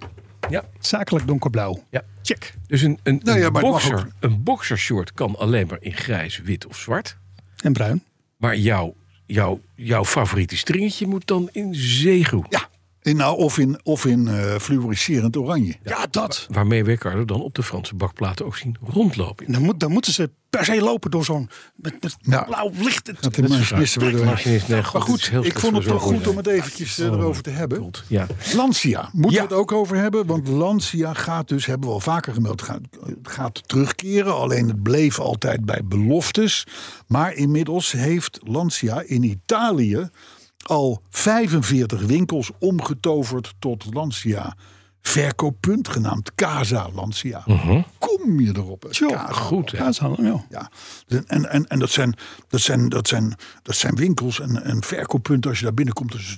Speaker 3: Ja.
Speaker 4: Zakelijk donkerblauw.
Speaker 3: Ja.
Speaker 4: Check.
Speaker 3: Dus een, een,
Speaker 2: Nou ja,
Speaker 3: een
Speaker 2: maar het mag
Speaker 3: boxer, een boxershort kan alleen maar in grijs, wit of zwart.
Speaker 4: En bruin.
Speaker 3: Maar jouw, jouw, jouw favoriete stringetje moet dan in zeegroen.
Speaker 2: Ja. In, nou, of in, of in eh, fluoriserend oranje.
Speaker 4: Ja, dat.
Speaker 3: Waarmee we Carlo dan op de Franse bakplaten ook zien rondlopen.
Speaker 4: Dan, moet, dan moeten ze per se lopen door zo'n met, met
Speaker 2: Nou,
Speaker 4: blauw licht. Het-
Speaker 2: Dat de machinisten weer door.
Speaker 3: Machinist, nee,
Speaker 2: Maar
Speaker 3: god, het is
Speaker 2: goed,
Speaker 3: heel
Speaker 2: ik
Speaker 3: slecht
Speaker 2: vond het
Speaker 3: voor Oh,
Speaker 2: wel
Speaker 3: de zorg.
Speaker 2: goed om het eventjes eh, erover te hebben.
Speaker 3: Goed, Ja.
Speaker 2: Lancia, moeten
Speaker 3: Ja.
Speaker 2: we het ook over hebben? Want Lancia gaat dus, hebben we al vaker gemeld, gaat, gaat terugkeren. Alleen het bleef altijd bij beloftes. Maar inmiddels heeft Lancia in Italië al 45 winkels omgetoverd tot Lancia. Verkooppunt genaamd Casa Lancia. Kom je erop? hè? Casa
Speaker 3: Mhm. Goed, hè?
Speaker 4: Ja, zo, ja.
Speaker 2: ja, de- en, en, en dat, zijn, dat, zijn, dat, zijn, dat zijn winkels en, en verkooppunten. Als je daar binnenkomt, dus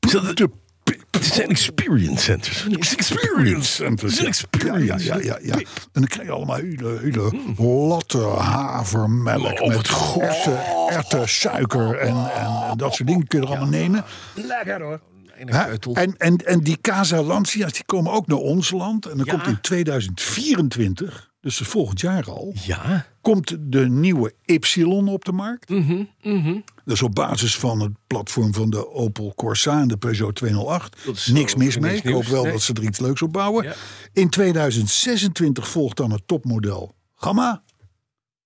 Speaker 3: Het zijn experience centers.
Speaker 2: experience centers.
Speaker 3: een experience.
Speaker 2: Ja, ja, ja, Hmm. ja. En dan krijg je allemaal hele, hele latte havermelk
Speaker 3: Oh,
Speaker 2: met
Speaker 3: wat goed.
Speaker 2: erwten, erwten, suiker en, en, en dat soort dingen kun je er allemaal nemen.
Speaker 3: Lekker hoor. Een
Speaker 2: Hè?
Speaker 3: keutel.
Speaker 2: En, en, en die Casa Lancia's die komen ook naar ons land. En dan
Speaker 3: Ja.
Speaker 2: komt in 2024, dus volgend jaar al,
Speaker 3: Ja.
Speaker 2: komt de nieuwe Y op de markt.
Speaker 3: Mhm,
Speaker 2: Dat is op basis van het platform van de Opel Corsa en de Peugeot 208.
Speaker 3: Dat is
Speaker 2: niks
Speaker 3: zo,
Speaker 2: mis mee.
Speaker 3: niks
Speaker 2: Ik hoop
Speaker 3: nieuws,
Speaker 2: wel
Speaker 3: nee.
Speaker 2: dat ze er iets leuks op bouwen.
Speaker 3: Ja.
Speaker 2: In 2026 volgt dan het topmodel Gamma.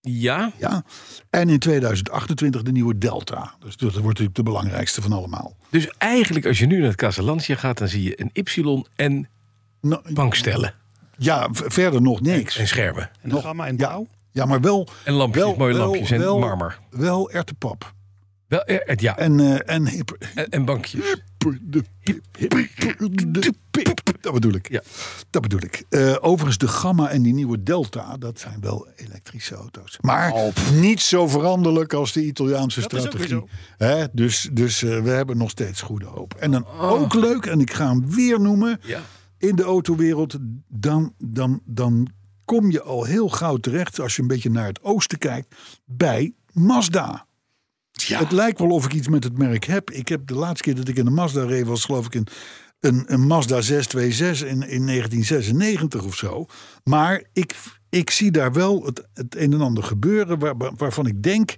Speaker 3: Ja.
Speaker 2: Ja. En in 2028 de nieuwe Delta. Dus dat wordt natuurlijk de belangrijkste van allemaal.
Speaker 3: Dus eigenlijk als je nu naar het Casalantia gaat, dan zie je een Y en
Speaker 2: Nou,
Speaker 3: bankstellen.
Speaker 2: ja, v- verder nog niks.
Speaker 3: En schermen.
Speaker 4: En dan gaan we in blauw.
Speaker 2: Ja, maar wel...
Speaker 3: En lampjes,
Speaker 2: wel-
Speaker 3: mooie
Speaker 2: wel-
Speaker 3: lampjes en
Speaker 2: wel-
Speaker 3: marmer.
Speaker 2: Wel erwtenpap.
Speaker 3: Wel, eh, eh, ja, en,
Speaker 2: En, eh en hip,
Speaker 3: en bankjes.
Speaker 2: de pip, de pip. Dat bedoel ik.
Speaker 3: Ja.
Speaker 2: Dat bedoel ik. Eh, overigens, de Gamma en die nieuwe Delta, dat zijn wel elektrische auto's. Maar niet zo veranderlijk als de Italiaanse
Speaker 4: is ook
Speaker 2: strategie.
Speaker 4: weer
Speaker 2: Hè, dus dus eh, we hebben nog steeds goede hoop. En dan ook leuk, en ik ga hem weer noemen,
Speaker 3: Ja.
Speaker 2: in de autowereld, dan, dan, dan kom je al heel gauw terecht, als je een beetje naar het oosten kijkt, bij Mazda. Het lijkt wel of ik iets met het merk heb. Ik heb de laatste keer dat ik in de Mazda reed, was geloof ik een, een, een Mazda 626 in, in 1996 of zo. Maar ik, ik zie daar wel het, het een en ander gebeuren waar- waar- waarvan ik denk,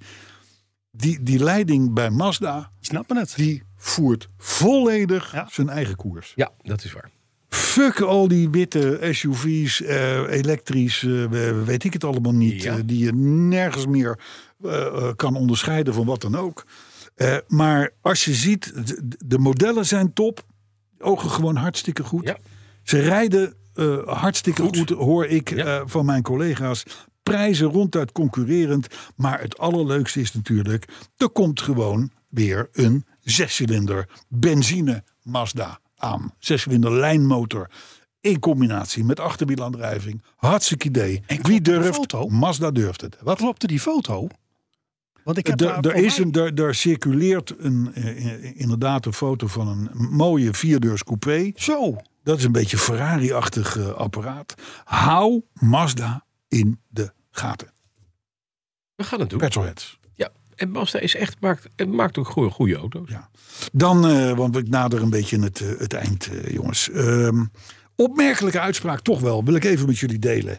Speaker 2: die, die leiding bij Mazda,
Speaker 4: Snap me het?
Speaker 2: die voert volledig
Speaker 4: Ja.
Speaker 2: zijn eigen koers.
Speaker 3: Ja, dat is waar.
Speaker 2: Fuck al die witte SUV's, eh, elektrisch, eh, we- weet ik het allemaal niet.
Speaker 3: Ja.
Speaker 2: eh, die je nergens meer eh, eh, kan onderscheiden van wat dan ook. Eh, maar als je ziet, de, de modellen zijn top. Ogen gewoon hartstikke goed.
Speaker 3: Ja.
Speaker 2: Ze rijden eh, hartstikke goed. hoor ik
Speaker 3: Ja.
Speaker 2: eh, van mijn collega's. Prijzen ronduit concurrerend. Maar het allerleukste is natuurlijk, er komt gewoon weer een zescilinder benzine Mazda aan. Zescilinder lijnmotor. In combinatie met achterwielaandrijving. Hartstikke idee. Wie
Speaker 4: klopt de
Speaker 2: durft?
Speaker 4: foto?
Speaker 2: Mazda durft het. Wat?
Speaker 4: Klopte die foto? Want ik heb
Speaker 2: Er-
Speaker 4: daar
Speaker 2: er
Speaker 4: voor
Speaker 2: is
Speaker 4: mij-
Speaker 2: een, daar, daar circuleert een, eh, inderdaad een foto van een mooie vierdeurs coupé.
Speaker 4: Zo.
Speaker 2: Dat is een beetje Ferrari-achtig eh, apparaat. Hou Mazda in de gaten.
Speaker 3: We gaan het doen.
Speaker 2: Petrolheads.
Speaker 3: Ja. En Mazda is echt, maakt, het maakt ook goede, goede auto's.
Speaker 2: Ja. Dan, eh, want ik nader een beetje het, eh, het eind, eh, jongens. Ehm, opmerkelijke uitspraak toch wel, wil ik even met jullie delen.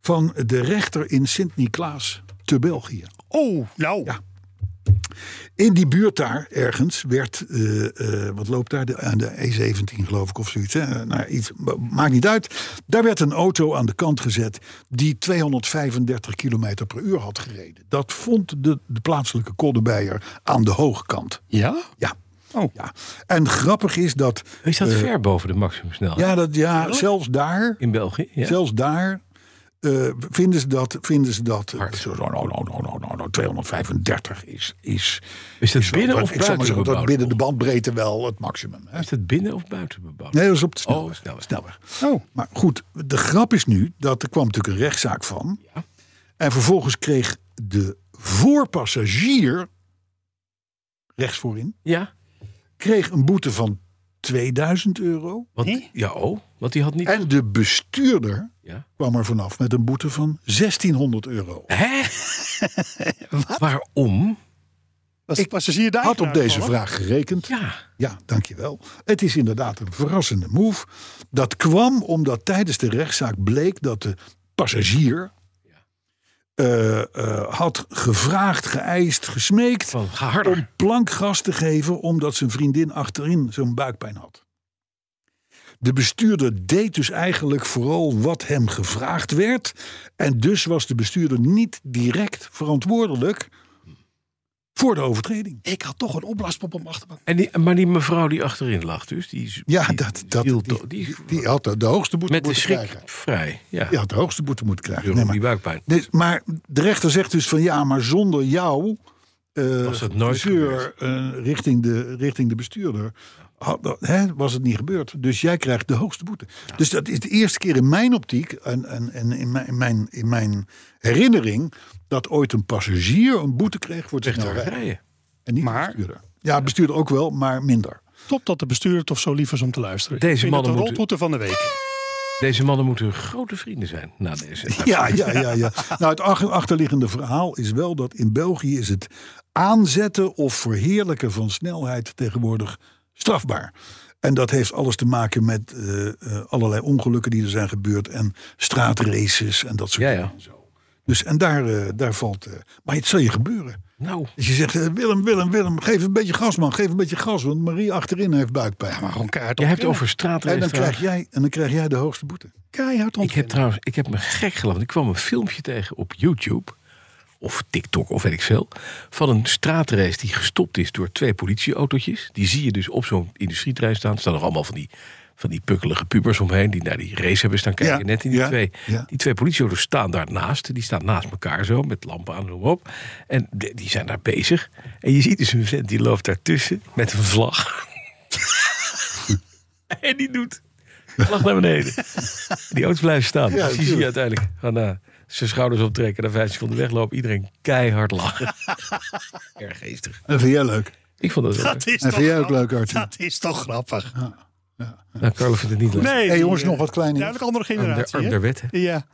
Speaker 2: Van de rechter in Sint-Niklaas te België.
Speaker 4: Oh, nou.
Speaker 2: Ja. In die buurt daar, ergens, werd, eh, eh, wat loopt daar? De, aan de E17 geloof ik of zoiets. Hè? Eh, Nou, iets, ma- maakt niet uit. Daar werd een auto aan de kant gezet die 235 km per uur had gereden. Dat vond de, de plaatselijke Koddebeier aan de hoge kant.
Speaker 3: Ja?
Speaker 2: Ja.
Speaker 10: Oh.
Speaker 2: ja. En grappig is dat...
Speaker 3: Is dat
Speaker 2: eh,
Speaker 3: ver boven de maximumsnelheid
Speaker 2: Ja, dat, ja zelfs daar...
Speaker 3: in België? Ja.
Speaker 2: Zelfs daar eh, vinden ze dat. Vinden ze dat
Speaker 3: Hard.
Speaker 2: zo, nou, nou, nou, nou, nou, nou, 235 is. is
Speaker 3: Is dat
Speaker 2: is wel-
Speaker 3: binnen
Speaker 2: dat-
Speaker 3: of
Speaker 2: ik zal maar
Speaker 3: buiten
Speaker 2: zeggen, dat
Speaker 3: bebouwd
Speaker 2: binnen de
Speaker 3: gebied?
Speaker 2: bandbreedte wel het maximum. Hè?
Speaker 3: Is dat binnen of buiten bebouwd?
Speaker 2: Nee, dat is op de snelweg.
Speaker 3: Oh, snelweg.
Speaker 2: snelweg.
Speaker 4: Nou,
Speaker 10: Oh.
Speaker 2: Maar goed, de grap is nu dat er kwam natuurlijk een rechtszaak van.
Speaker 3: Ja.
Speaker 2: En vervolgens kreeg de voorpassagier, rechts voorin,
Speaker 3: Ja.
Speaker 2: kreeg een boete van 2000 euro.
Speaker 3: Want,
Speaker 4: Nee?
Speaker 3: Ja, oh. Want die had niet...
Speaker 2: En de bestuurder
Speaker 3: Ja.
Speaker 2: kwam er vanaf met een boete van 1600 euro.
Speaker 3: Hè? Waarom?
Speaker 4: Was de passagier daar?
Speaker 2: had op
Speaker 4: nou
Speaker 2: deze
Speaker 4: gevallen?
Speaker 2: vraag gerekend. Ja.
Speaker 3: Ja.
Speaker 2: dankjewel. Het is inderdaad een verrassende move. Dat kwam omdat tijdens de rechtszaak bleek dat de passagier eh, eh, had gevraagd, geëist, gesmeekt
Speaker 3: Van, ga
Speaker 2: om
Speaker 3: harder.
Speaker 2: plankgas te geven omdat zijn vriendin achterin zo'n buikpijn had. De bestuurder deed dus eigenlijk vooral wat hem gevraagd werd. En dus was de bestuurder niet direct verantwoordelijk voor de overtreding.
Speaker 4: Ik had toch een opblaaspop op mijn achterbank.
Speaker 3: En die, maar die mevrouw die achterin lag dus, die...
Speaker 2: Ja,
Speaker 3: die
Speaker 2: dat, dat,
Speaker 3: viel
Speaker 2: die,
Speaker 3: toch- die-
Speaker 2: die- die had de hoogste boete
Speaker 3: met de
Speaker 2: moeten
Speaker 3: schrik
Speaker 2: krijgen.
Speaker 3: vrij. Ja,
Speaker 2: Die had de hoogste boete moeten
Speaker 3: door
Speaker 2: krijgen. Nee,
Speaker 3: die
Speaker 2: maar,
Speaker 3: buikpijn.
Speaker 2: dus- maar de rechter zegt dus van ja, maar zonder jou... eh,
Speaker 3: Was het nooit
Speaker 2: gezeur, eh, richting, de, richting de bestuurder had, dat- hè, was het niet gebeurd. Dus jij krijgt de hoogste boete. Dus dat is de eerste keer in mijn optiek en, en, en in, mijn, in, mijn, in mijn herinnering... dat ooit een passagier een boete kreeg voor het
Speaker 3: Rechter
Speaker 2: snelrijden.
Speaker 3: rijden.
Speaker 2: En niet
Speaker 10: Maar-
Speaker 2: de bestuurder. Ja, bestuurder ook wel, maar minder.
Speaker 4: Top dat de bestuurder toch zo lief is om te luisteren.
Speaker 3: Deze
Speaker 4: Ik vind
Speaker 3: mannen
Speaker 4: het de rolboete
Speaker 3: moeten-
Speaker 4: van de week.
Speaker 3: Deze mannen moeten grote vrienden zijn na deze.
Speaker 2: Ja, ja, ja, ja. Nou, het ach- achterliggende verhaal is wel dat in België is het aanzetten of verheerlijken van snelheid tegenwoordig strafbaar. En dat heeft alles te maken met eh, eh, allerlei ongelukken die er zijn gebeurd en straatraces en dat soort
Speaker 3: Ja,
Speaker 2: dingen.
Speaker 3: ja.
Speaker 2: Dus en daar, eh, daar valt. eh, maar het zal je gebeuren.
Speaker 3: Nou,
Speaker 2: Dus je zegt, eh, Willem, Willem, Willem, geef een beetje gas, man. Geef een beetje gas, want Marie achterin heeft buikpijn.
Speaker 4: Maar gewoon keihard
Speaker 3: jij hebt
Speaker 4: ontkennen.
Speaker 3: over
Speaker 2: en, dan krijg
Speaker 3: straatrestaurants.
Speaker 2: jij, en dan krijg jij de hoogste boete.
Speaker 4: Keihard
Speaker 3: Ik heb
Speaker 4: ontkennen.
Speaker 3: trouwens, ik heb me gek gelachen. want Ik kwam een filmpje tegen op YouTube. Of TikTok of weet ik veel. Van een straatrace die gestopt is door twee politieautootjes. Die zie je dus op zo'n industrieterrein staan. Er staan nog allemaal van die, van die pukkelige pubers omheen. Die naar die race hebben staan kijken.
Speaker 2: Ja,
Speaker 3: Net in die
Speaker 2: ja,
Speaker 3: twee.
Speaker 2: ja.
Speaker 3: Die twee politieauto's staan daarnaast. Die staan naast elkaar zo. Met lampen aan en noem maar op. En de- die zijn daar bezig. En je ziet dus een vent die loopt daartussen. Met een vlag. en die doet. Vlag naar beneden. Die auto's blijven staan.
Speaker 2: Ja,
Speaker 3: dus die zie je uiteindelijk gaan eh, zijn schouders optrekken. Na vijf seconden weglopen. Iedereen keihard lachen. Erg geestig.
Speaker 2: En vind jij leuk?
Speaker 3: Ik vond dat wel.
Speaker 4: Dat is
Speaker 2: En
Speaker 4: toch
Speaker 2: vind jij ook
Speaker 4: grappig.
Speaker 2: leuk, Arthur?
Speaker 4: Dat is toch grappig.
Speaker 3: Nou, Carlo vindt het niet leuk.
Speaker 4: Nee,
Speaker 2: Hey, jongens,
Speaker 4: die, eh,
Speaker 2: nog wat kleine
Speaker 4: Duidelijk andere
Speaker 3: Arm der,
Speaker 4: generatie.
Speaker 3: arm
Speaker 4: hè?
Speaker 3: der wet, hè.
Speaker 4: Ja.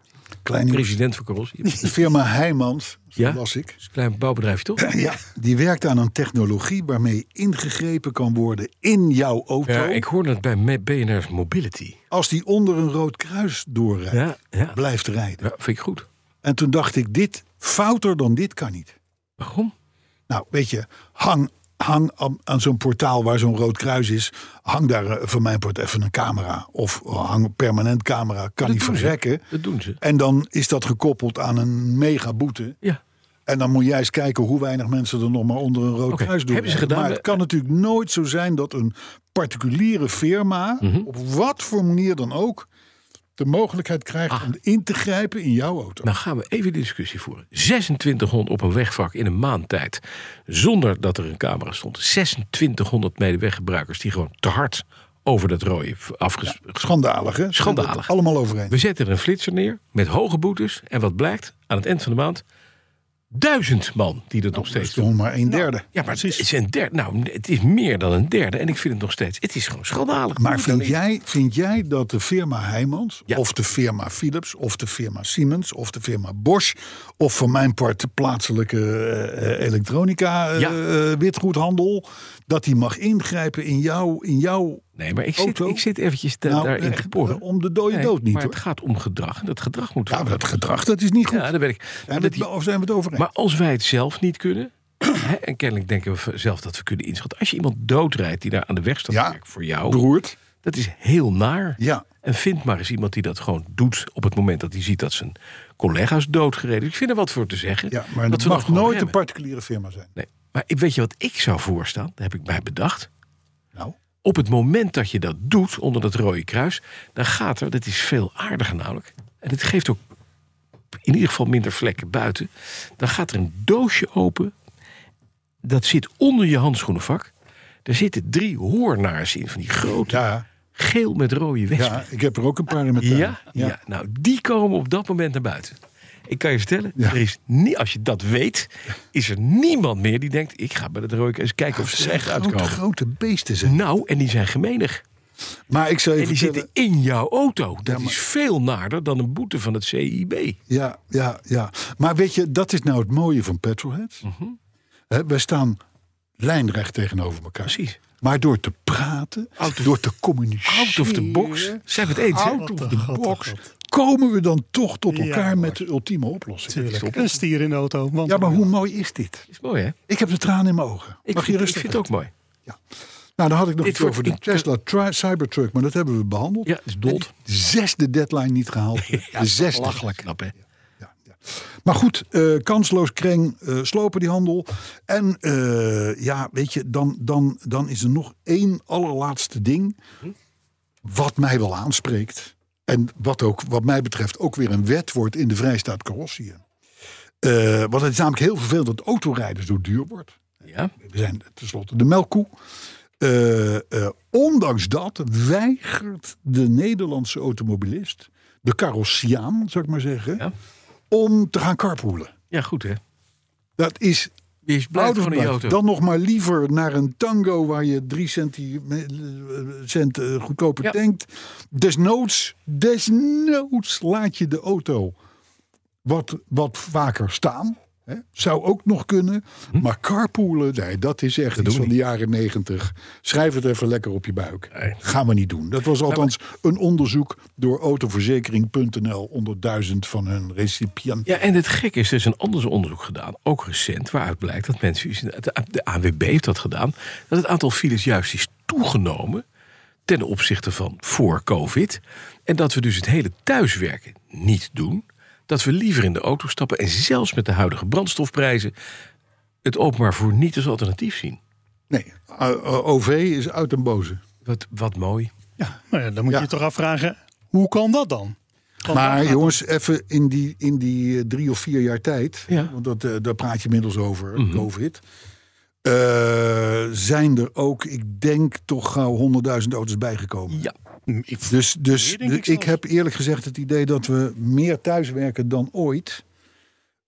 Speaker 2: Kleine
Speaker 3: President van Corrossie. Dat
Speaker 2: De firma Heijmans, zo
Speaker 3: Ja?
Speaker 2: las ik.
Speaker 3: is een klein bouwbedrijf, toch?
Speaker 2: Ja, die werkt aan een technologie waarmee ingegrepen kan worden in jouw auto.
Speaker 3: Ja, ik hoorde het bij Me- BNR's Mobility.
Speaker 2: Als die onder een rood kruis doorrijdt,
Speaker 3: Ja, ja.
Speaker 2: blijft rijden.
Speaker 3: ja vind ik goed.
Speaker 2: En toen dacht ik, dit fouter dan dit kan niet.
Speaker 3: Waarom?
Speaker 2: Nou, weet je, hang, hang aan, aan zo'n portaal waar zo'n rood kruis is. Hang daar eh, van mijn part even een camera. Of oh, hang een permanent camera, kan niet
Speaker 3: doen ze.
Speaker 2: verrekken.
Speaker 3: Dat doen ze.
Speaker 2: En dan is dat gekoppeld aan een mega boete.
Speaker 3: Ja.
Speaker 2: En dan moet jij eens kijken hoe weinig mensen er nog maar onder een rood
Speaker 3: Oké,
Speaker 2: kruis doen.
Speaker 3: hebben ze gedaan
Speaker 2: maar
Speaker 3: bij-
Speaker 2: het kan natuurlijk nooit zo zijn dat een particuliere firma,
Speaker 3: Mhm.
Speaker 2: op wat voor manier dan ook, de mogelijkheid krijgt om in te grijpen in jouw auto.
Speaker 3: Ah. Nou gaan we even de discussie voeren. 2600 op een wegvak in een maand tijd. Zonder dat er een camera stond. 2600 medeweggebruikers die gewoon te hard over dat rode afges...
Speaker 2: Schandalig, hè?
Speaker 3: Schandalig.
Speaker 2: Zijn we het Allemaal overeen.
Speaker 3: We zetten er een flitser neer met hoge boetes. En wat blijkt? Aan het eind van de maand duizend man die dat nog steeds doen.
Speaker 2: Nou, Toch maar een derde.
Speaker 3: Ja, maar het is een derde. Nou, het is meer dan een derde. En ik vind het nog steeds. Het is gewoon schandalig.
Speaker 2: Maar
Speaker 3: Hoe
Speaker 2: vind
Speaker 3: dan
Speaker 2: jij, vind jij dat de firma Heijmans,
Speaker 3: Ja.
Speaker 2: of de firma Philips, of de firma Siemens, of de firma Bosch, of voor mijn part de plaatselijke eh, eh, elektronica eh,
Speaker 3: Ja.
Speaker 2: eh, witgoedhandel, dat die mag ingrijpen in jouw. In jouw
Speaker 3: Nee, maar ik zit,
Speaker 2: Auto?
Speaker 3: ik zit eventjes te,
Speaker 2: nou,
Speaker 3: daarin
Speaker 2: echt,
Speaker 3: te boren.
Speaker 2: eh, om de dode
Speaker 3: Nee,
Speaker 2: dood niet.
Speaker 3: Maar
Speaker 2: Hoor.
Speaker 3: het gaat om gedrag. En dat gedrag moet
Speaker 2: Ja, maar
Speaker 3: veranderen.
Speaker 2: dat gedrag, dat is niet goed.
Speaker 3: Ja, daar ben ik.
Speaker 2: en
Speaker 3: dat
Speaker 2: dat,
Speaker 3: die-
Speaker 2: daar zijn we het over eens.
Speaker 3: maar als wij het zelf niet kunnen. hè, en kennelijk denken we zelf dat we kunnen inschatten. Als je iemand doodrijdt die daar aan de weg staat
Speaker 2: Ja,
Speaker 3: te werken voor jou.
Speaker 2: Beroerd.
Speaker 3: Dat is heel naar.
Speaker 2: Ja.
Speaker 3: En vind maar eens iemand die dat gewoon doet op het moment dat hij ziet dat zijn collega's doodgereden. is. Ik vind er wat voor te zeggen.
Speaker 2: Ja, maar
Speaker 3: dat
Speaker 2: het
Speaker 3: we dat
Speaker 2: mag
Speaker 3: gewoon
Speaker 2: nooit
Speaker 3: remmen.
Speaker 2: een particuliere firma zijn.
Speaker 3: Nee. Maar ik weet je wat ik zou voorstaan? Dat heb ik mij bedacht.
Speaker 2: Nou,
Speaker 3: Op het moment dat je dat doet onder dat rode kruis, dan gaat er, dat is veel aardiger namelijk, en het geeft ook in ieder geval minder vlekken buiten, dan gaat er een doosje open, dat zit onder je handschoenenvak. Daar zitten drie hoornaars in, van die grote,
Speaker 2: ja,
Speaker 3: geel met rode wespen.
Speaker 2: ja, ik heb er ook een paar in mijn
Speaker 3: Ja,
Speaker 2: tuin.
Speaker 3: ja. nou, die komen op dat moment naar buiten. Ik kan je vertellen,
Speaker 2: Ja.
Speaker 3: er is niet, als je dat weet, is er niemand meer die denkt: ik ga bij het rode eens kijken of
Speaker 2: Ze
Speaker 3: ze
Speaker 2: zijn
Speaker 3: eruit
Speaker 2: grote,
Speaker 3: uitkomen.
Speaker 2: grote beesten zijn.
Speaker 3: Nou, en die zijn gemeenig.
Speaker 2: Maar ik zou je
Speaker 3: En die
Speaker 2: vertellen-
Speaker 3: zitten in jouw auto. Dat
Speaker 2: maar-
Speaker 3: is veel naarder dan een boete van het CIB.
Speaker 2: Ja, ja, ja. Maar weet je, dat is nou het mooie van petrolheads.
Speaker 3: Mhm.
Speaker 2: Hè, wij staan lijnrecht tegenover elkaar.
Speaker 3: Precies.
Speaker 2: Maar door te praten,
Speaker 3: Out of-
Speaker 2: door te communiceren,
Speaker 3: Out of the box. Zijn we het eens? hè?
Speaker 2: out of the box, komen we dan toch tot
Speaker 4: Ja,
Speaker 2: elkaar met de ultieme oplossing.
Speaker 4: Tuurlijk. Een stier in de auto. Want
Speaker 2: Ja, maar hoe mooi is dit?
Speaker 3: Is mooi, hè?
Speaker 2: Ik heb de tranen in mijn ogen.
Speaker 3: Ik,
Speaker 2: Mag je
Speaker 3: vind, ik
Speaker 2: rustig?
Speaker 3: vind het ook mooi.
Speaker 2: Nou, dan had ik nog
Speaker 3: Dit
Speaker 2: iets over de
Speaker 3: wordt- ik-
Speaker 2: Tesla tri- Cybertruck, maar dat hebben we behandeld.
Speaker 3: Ja, het is dood.
Speaker 2: En die Zesde deadline niet gehaald. de zesde.
Speaker 3: Lachelijk. Knap, hè?
Speaker 2: Ja, ja. Maar goed, eh, kansloos kreng, eh, slopen die handel. En eh, ja, weet je, dan, dan, dan is er nog één allerlaatste ding. Wat mij wel aanspreekt. En wat ook, wat mij betreft, ook weer een wet wordt in de Vrijstaat Carrossië. Eh, want het is namelijk heel vervelend dat autorijden zo duur wordt.
Speaker 3: Ja.
Speaker 2: We zijn tenslotte de melkkoe. Eh, eh, ondanks dat weigert de Nederlandse automobilist, de carrossiaan, zou ik maar zeggen,
Speaker 3: Ja.
Speaker 2: om te gaan carpoolen.
Speaker 3: ja, goed, hè?
Speaker 2: Dat is
Speaker 3: Je blijft
Speaker 2: out of
Speaker 3: gewoon in je
Speaker 2: budget.
Speaker 3: auto.
Speaker 2: Dan nog maar liever naar een tango waar je drie centi- eh, cent eh, goedkoper
Speaker 3: Ja.
Speaker 2: tankt. Desnoods, desnoods laat je de auto wat, wat vaker staan. Hè? Zou ook nog kunnen. Maar carpoolen, nee, dat is echt iets
Speaker 3: Hm? doen we
Speaker 2: van de jaren negentig. Schrijf het even lekker op je buik. Gaan we niet doen. Dat was
Speaker 3: Nou,
Speaker 2: althans een onderzoek door autoverzekering.nl onder duizend van hun recipiënten.
Speaker 3: Ja, en het gekke is, er is een ander onderzoek gedaan, ook recent, waaruit blijkt dat mensen, de de ANWB heeft dat gedaan, dat het aantal files juist is toegenomen ten opzichte van voor COVID. En dat we dus het hele thuiswerken niet doen. Dat we liever in de auto stappen en zelfs met de huidige brandstofprijzen het openbaar voor niet als alternatief zien.
Speaker 2: Nee, O- O- OV is uit en boze.
Speaker 3: Wat, wat mooi.
Speaker 4: Nou ja, dan moet je
Speaker 2: Ja.
Speaker 4: je toch afvragen, hoe kan dat dan? Want daar
Speaker 2: Maar
Speaker 4: gaat-
Speaker 2: jongens, even in die, in die eh, drie of vier jaar tijd,
Speaker 3: Ja.
Speaker 2: want dat, eh, daar praat je inmiddels over, COVID. eh, zijn er ook, ik denk toch gauw 100.000 auto's bijgekomen.
Speaker 3: Ja,
Speaker 2: Dus, dus
Speaker 4: Meer, denk ik
Speaker 2: ik,
Speaker 4: zelfs.
Speaker 2: heb eerlijk gezegd het idee dat we meer thuiswerken dan ooit.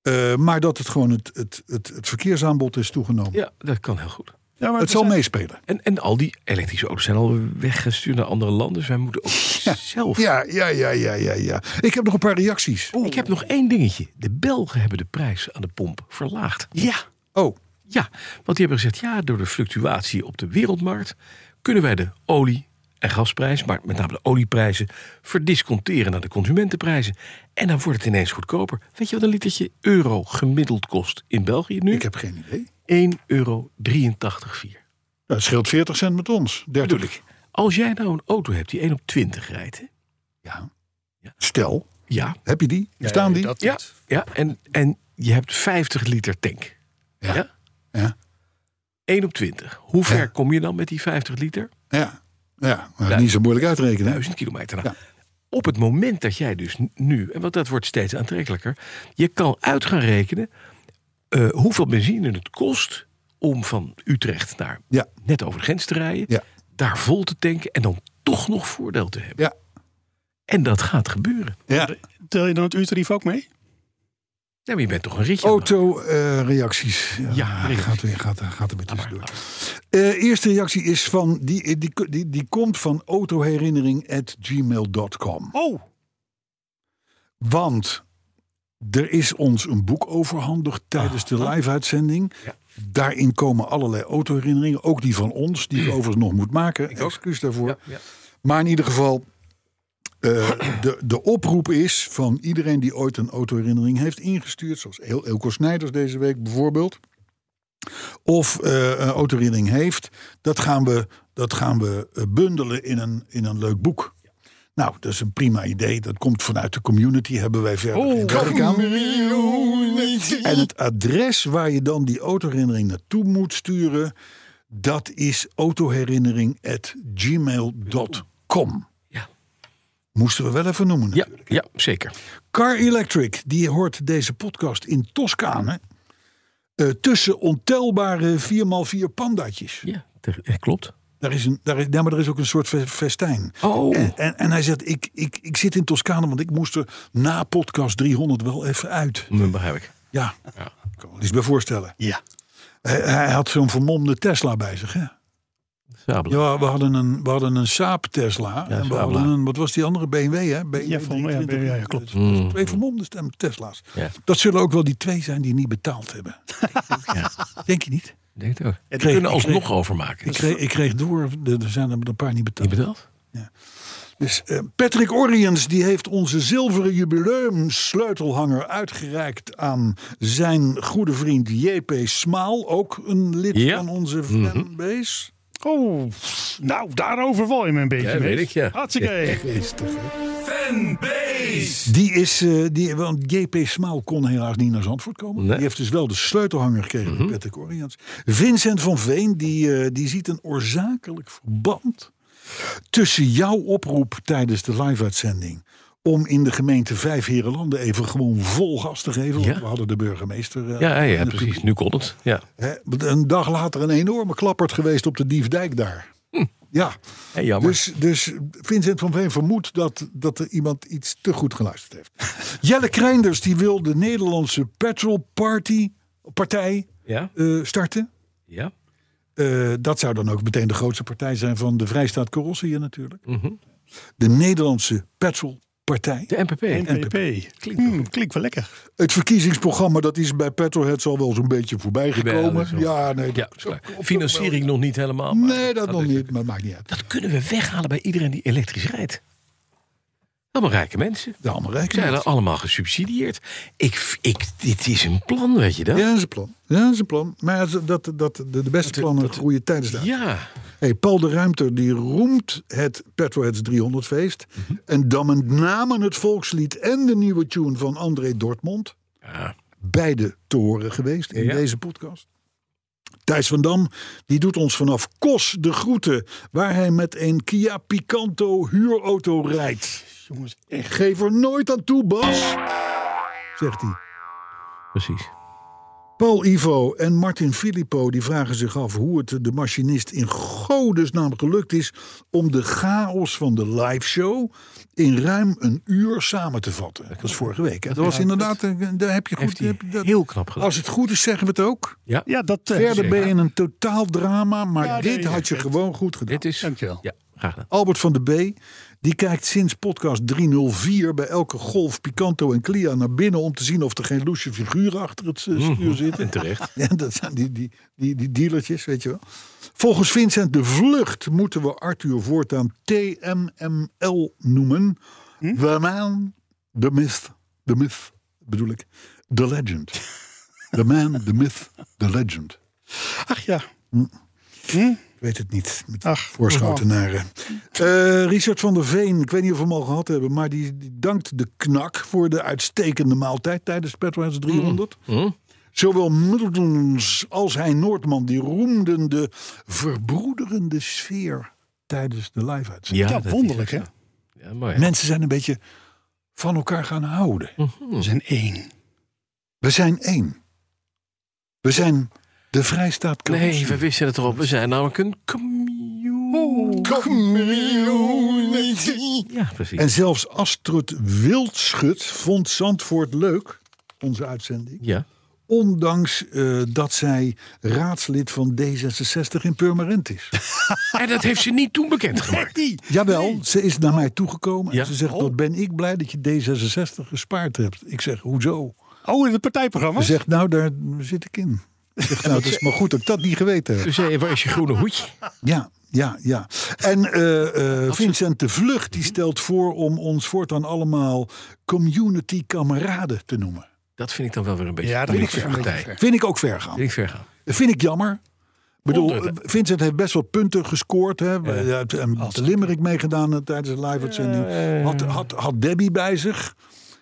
Speaker 2: Eh, maar dat het gewoon het, het, het, het verkeersaanbod is toegenomen.
Speaker 3: ja dat kan heel goed.
Speaker 4: Ja, maar
Speaker 2: het
Speaker 4: er
Speaker 2: zal
Speaker 4: zijn-
Speaker 2: meespelen.
Speaker 3: En, en al die elektrische auto's zijn al weggestuurd naar andere landen. Dus wij moeten ook zelf
Speaker 2: Ja, ja, ja, ja, ja, ja. Ik heb nog een paar reacties.
Speaker 3: Ik heb nog één dingetje. De Belgen hebben de prijs aan de pomp verlaagd. Ja.
Speaker 2: Oh,
Speaker 3: Ja, want die hebben gezegd, ja, door de fluctuatie op de wereldmarkt kunnen wij de olie- en gasprijs, maar met name de olieprijzen, verdisconteren naar de consumentenprijzen. En dan wordt het ineens goedkoper. Weet je wat een litertje euro gemiddeld kost in België nu?
Speaker 2: ik heb geen idee.
Speaker 3: 1,83 euro.
Speaker 2: Dat scheelt 40 cent met ons. 30.
Speaker 3: Bedoel ik. Als jij nou een auto hebt die 1 op 20 rijdt, hè?
Speaker 2: Stel,
Speaker 3: ja,
Speaker 2: heb je die? Staan die?
Speaker 4: dat
Speaker 3: Ja,
Speaker 4: niet.
Speaker 3: ja en, en je hebt 50 liter tank.
Speaker 2: Ja.
Speaker 3: Ja?
Speaker 2: Ja.
Speaker 3: 1 op 20. Hoe ver
Speaker 2: Ja.
Speaker 3: kom je dan met die 50 liter?
Speaker 2: Ja, ja maar
Speaker 3: Ja.
Speaker 2: niet zo moeilijk uitrekenen. hè?
Speaker 3: 1000 kilometer. Nou,
Speaker 2: Ja.
Speaker 3: Op het moment dat jij dus nu, en want dat wordt steeds aantrekkelijker, je kan uit gaan rekenen eh, hoeveel benzine het kost om van Utrecht naar
Speaker 2: Ja.
Speaker 3: net over de grens te rijden,
Speaker 2: Ja.
Speaker 3: daar vol te tanken en dan toch nog voordeel te hebben.
Speaker 2: Ja.
Speaker 3: En dat gaat gebeuren.
Speaker 2: Ja.
Speaker 4: Tel je dan het uurtarief ook mee?
Speaker 3: maar je bent toch een ritje. aan
Speaker 2: Oh,
Speaker 3: het
Speaker 2: Auto-reacties. eh, ja, hij gaat, weer, gaat, hij gaat er weer tussendoor. Eh eerste reactie is van, die, die, die, die komt van autoherinnering.gmail.com.
Speaker 3: maken. Oh,
Speaker 2: Want er is ons een boek overhandigd tijdens
Speaker 3: Ah,
Speaker 2: de live-uitzending. Daarin komen allerlei autoherinneringen, ook die van ons, die ik overigens nog moet maken. Excuus daarvoor.
Speaker 3: Mm. ja.
Speaker 2: Maar in ieder geval, eh, de, de oproep is van iedereen die ooit een autoherinnering heeft ingestuurd, zoals El- Elko Snijders deze week bijvoorbeeld, of eh, een autoherinnering heeft, dat gaan we, dat gaan we eh, bundelen in een, in een leuk boek. Nou, dat is een prima idee. Dat komt vanuit de community, hebben wij verder
Speaker 3: Oh,
Speaker 2: geen werk aan. En het adres waar je dan die autoherinnering naartoe moet sturen... dat is autoherinnering.gmail.com.
Speaker 3: Ja.
Speaker 2: Moesten we wel even noemen
Speaker 3: ja,
Speaker 2: natuurlijk.
Speaker 3: ja, zeker.
Speaker 2: Car Electric, die hoort deze podcast in Toscane... eh, tussen ontelbare 4x4 pandaatjes.
Speaker 3: Ja, dat klopt.
Speaker 2: Daar is een, daar is, nee, maar er is ook een soort fe- festijn.
Speaker 3: Oh.
Speaker 2: En, en, en hij zegt, ik, ik, ik zit in Toscane, want ik moest er na podcast 300 wel even uit.
Speaker 3: Dat begrijp ik.
Speaker 2: Ja, ik kan me er iets bij voorstellen.
Speaker 10: Ja.
Speaker 2: Hij, hij had zo'n vermomde Tesla bij zich, hè?
Speaker 3: Sabelen.
Speaker 2: Ja, we hadden een, we hadden een Saab Tesla. en we
Speaker 3: Saab,
Speaker 2: hadden
Speaker 3: ja.
Speaker 2: een, wat was die andere? BMW, hè? BMW
Speaker 4: Ja, volgens mij, ja,
Speaker 2: 23.
Speaker 4: BMW, ja, klopt.
Speaker 2: Dus Twee vermomde stem Tesla's.
Speaker 3: Ja.
Speaker 2: Dat zullen ook wel die twee zijn die niet betaald hebben. Denk je niet?
Speaker 3: Ik Denk het ook. Die
Speaker 2: kreeg-
Speaker 3: kunnen
Speaker 2: ik kreeg-
Speaker 3: alsnog overmaken.
Speaker 2: Ik kreeg, ik kreeg door, er er zijn er een paar niet
Speaker 3: Je
Speaker 2: betaald.
Speaker 3: bedoelt?
Speaker 2: Dus eh, Patrick Oriens die heeft onze zilveren jubileumsleutelhanger uitgereikt aan zijn goede vriend JP Smaal, ook een lid
Speaker 3: Ja.
Speaker 2: van onze fanbase.
Speaker 4: Oh, nou, daarover val je me een beetje
Speaker 3: Ja, weet ik, ja.
Speaker 4: Hartstikke.
Speaker 2: Die is, eh, die, want JP Smaal kon helaas niet naar Zandvoort komen.
Speaker 3: Nee. Mhm.
Speaker 2: Die heeft dus wel de sleutelhanger gekregen van Patrick Oriens. Vincent van Veen die, eh, die ziet een oorzakelijk verband tussen jouw oproep tijdens de live-uitzending. Om in de gemeente Vijf Herenlanden even gewoon vol gas te geven. Want
Speaker 3: Ja.
Speaker 2: we hadden de burgemeester. eh,
Speaker 3: Ja, ja,
Speaker 2: in
Speaker 3: ja,
Speaker 2: het
Speaker 3: precies. Nu kon het. Ja.
Speaker 2: Hè, een dag later een enorme klappert geweest op de Diefdijk daar.
Speaker 3: Hm.
Speaker 2: Ja,
Speaker 3: Hé, jammer.
Speaker 2: Dus, dus Vincent van Veen vermoedt dat, dat er iemand iets te goed geluisterd heeft. Jelle Kreinders die wil de Nederlandse Petrol Party, partij
Speaker 3: Ja?
Speaker 2: eh, starten.
Speaker 3: Ja?
Speaker 2: Eh, dat zou dan ook meteen de grootste partij zijn van de Vrijstaat Corossie natuurlijk.
Speaker 3: Mhm.
Speaker 2: De Nederlandse Petrol Partij.
Speaker 3: De NPP.
Speaker 4: NPP. Klinkt, hmm, klinkt wel lekker.
Speaker 2: Het verkiezingsprogramma dat is bij Petrolheads al wel zo'n beetje voorbij gekomen.
Speaker 3: dat is wel-
Speaker 2: Ja, nee,
Speaker 3: Ja,
Speaker 2: dat,
Speaker 3: is waar. financiering nog niet helemaal. maar
Speaker 2: nee, dat nog
Speaker 3: is-
Speaker 2: niet, maar het maakt niet uit.
Speaker 3: Dat kunnen we weghalen bij iedereen die elektrisch rijdt. Allemaal rijke mensen.
Speaker 2: De allemaal
Speaker 3: Zijn
Speaker 2: rekening.
Speaker 3: er allemaal gesubsidieerd. Ik, ik, dit is een plan, weet je dat?
Speaker 2: Ja, dat is een plan. Ja, dat is een plan. Maar ja, dat, dat, dat, de, de beste plannen groeien tijdens de
Speaker 3: Ja.
Speaker 2: Hey, Paul de Ruimter die roemt het Petroheads 300 feest. En dan met name het volkslied en de nieuwe tune van André Dortmund.
Speaker 3: Ja.
Speaker 2: Beide te horen geweest in
Speaker 3: Ja.
Speaker 2: deze podcast. Thijs van Dam die doet ons vanaf Kos de groeten. Waar hij met een Kia Picanto huurauto rijdt.
Speaker 4: Jongens, echt.
Speaker 2: Geef er nooit aan toe Bas. Zegt hij.
Speaker 3: Precies.
Speaker 2: Paul Ivo en Martin Filippo die vragen zich af hoe het de machinist in godesnaam gelukt is om de chaos van de liveshow in ruim een uur samen te vatten. Dat was vorige week. Hè? Dat was inderdaad, eh, daar heb je goed.
Speaker 3: Heeft hij
Speaker 2: heb je dat-
Speaker 3: heel knap gedaan.
Speaker 2: als het goed is, zeggen we het ook.
Speaker 3: Ja.
Speaker 4: Ja, dat... eh,
Speaker 2: Verder
Speaker 3: zeker.
Speaker 2: ben je in een totaal drama, maar
Speaker 4: Ja,
Speaker 2: dit
Speaker 4: nee,
Speaker 2: had je
Speaker 4: het-
Speaker 2: gewoon goed gedaan.
Speaker 3: Dit is...
Speaker 4: Dankjewel.
Speaker 3: Ja, graag gedaan.
Speaker 2: Albert van de B. Die kijkt sinds podcast 304 bij elke golf Picanto en Clia naar binnen om te zien of er geen loesje figuren achter het eh, stuur zitten.
Speaker 3: Mhm, En terecht.
Speaker 2: Ja, dat zijn die, die, die, die dealertjes, weet je wel. Volgens Vincent de Vlucht moeten we Arthur voortaan TMML noemen. The man, the myth, the myth bedoel ik, the legend. The man, the myth, the legend.
Speaker 4: Ach ja.
Speaker 2: Ik weet het niet. Met
Speaker 4: Ach, oh.
Speaker 2: voorschotenaren. Eh, Richard van der Veen, ik weet niet of we hem al gehad hebben, maar die, die dankt de knak voor de uitstekende maaltijd tijdens Petroheads
Speaker 3: Mm-hmm.
Speaker 2: 300. Zowel Middletons als hij Noordman, die roemden de verbroederende sfeer tijdens de live-uitzending.
Speaker 4: Ja,
Speaker 3: dat is-
Speaker 4: wonderlijk, hè?
Speaker 3: Ja, Mm. mooi.
Speaker 2: Mensen zijn een beetje van elkaar gaan houden.
Speaker 4: We zijn één.
Speaker 2: We zijn één. We zijn de Vrijstaat
Speaker 3: Nee,
Speaker 2: Corruptie.
Speaker 3: we wisten het erop. We zijn namelijk een community. Ja, precies.
Speaker 2: En zelfs Astrid Wildschut vond Zandvoort leuk. onze uitzending.
Speaker 3: Ja.
Speaker 2: Ondanks eh, dat zij raadslid van D66 in Purmerend is.
Speaker 3: En dat heeft ze niet toen bekendgemaakt.
Speaker 2: Jawel, ze is naar mij toegekomen.
Speaker 3: Ja.
Speaker 2: En ze zegt, wat ben ik blij dat je D66 gespaard hebt. Ik zeg, hoezo?
Speaker 11: Oh, in het
Speaker 2: Ze
Speaker 11: partijprogramma?
Speaker 2: zegt, nou, daar zit ik in. Ik zeg, nou, het is maar goed dat ik dat niet geweten heb.
Speaker 3: Toen zei je, waar is eh, je groene hoedje?
Speaker 2: Ja, ja, ja. En eh, eh, Vincent de Vlucht die stelt voor om ons voortaan allemaal community kameraden te noemen.
Speaker 3: Dat vind ik dan wel weer een beetje
Speaker 11: Ja, dat vind ik
Speaker 3: politieke
Speaker 11: een beetje
Speaker 3: partij.
Speaker 11: ver.
Speaker 2: Vind ik ook ver gaan.
Speaker 3: Vind ik ver gaan.
Speaker 2: Vind ik jammer. Ik bedoel,
Speaker 3: Honderd,
Speaker 2: Vincent heeft best wel punten gescoord. Hè? Ja. Met Limerick meegedaan eh, tijdens de live-uitzending. Had, had, had Debbie bij zich.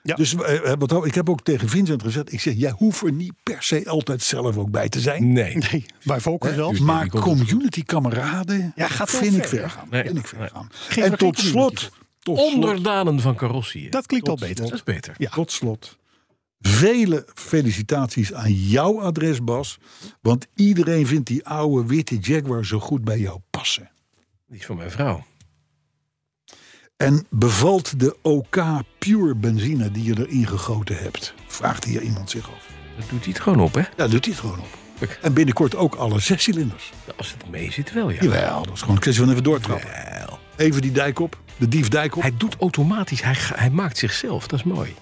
Speaker 11: Ja.
Speaker 2: Dus eh, wat hou- ik heb ook tegen Vincent gezegd: ik zeg, jij hoeft er niet per se altijd zelf ook bij te zijn.
Speaker 3: Nee.
Speaker 11: Nee, bij Volker zelf.
Speaker 3: dus-
Speaker 2: Maar
Speaker 3: die komt natuurlijk.
Speaker 2: community-kameraden
Speaker 11: Ja, gaat
Speaker 2: vind
Speaker 11: wel
Speaker 2: ik
Speaker 11: ver,
Speaker 2: ver gaan.
Speaker 3: Nee.
Speaker 2: Vind ik ver gaan.
Speaker 11: Geen-
Speaker 2: En
Speaker 11: geen
Speaker 2: tot
Speaker 11: community.
Speaker 2: slot, tot slot,
Speaker 3: Onderdanen van carrossiën.
Speaker 11: Dat klinkt al
Speaker 3: Tot
Speaker 11: beter.
Speaker 3: slot. Dat is beter.
Speaker 11: Ja.
Speaker 2: tot slot. Vele felicitaties aan jouw adres, Bas. Want iedereen vindt die oude witte Jaguar zo goed bij jou passen.
Speaker 3: Die is van mijn vrouw.
Speaker 2: En bevalt de OK Pure benzine die je erin gegoten hebt? Vraagt hier iemand zich af.
Speaker 3: Dat doet hij het gewoon op, hè?
Speaker 2: Ja, doet hij het gewoon op.
Speaker 3: Tuurlijk.
Speaker 2: En binnenkort ook alle zescilinders.
Speaker 3: Ja, Nou, Als het mee zit, wel, ja.
Speaker 2: Jawel, dat is gewoon een kwestie van even doortrappen. Even die dijk op, de dief dijk op.
Speaker 3: Hij doet automatisch. Hij, ga- hij maakt zichzelf. Dat is mooi.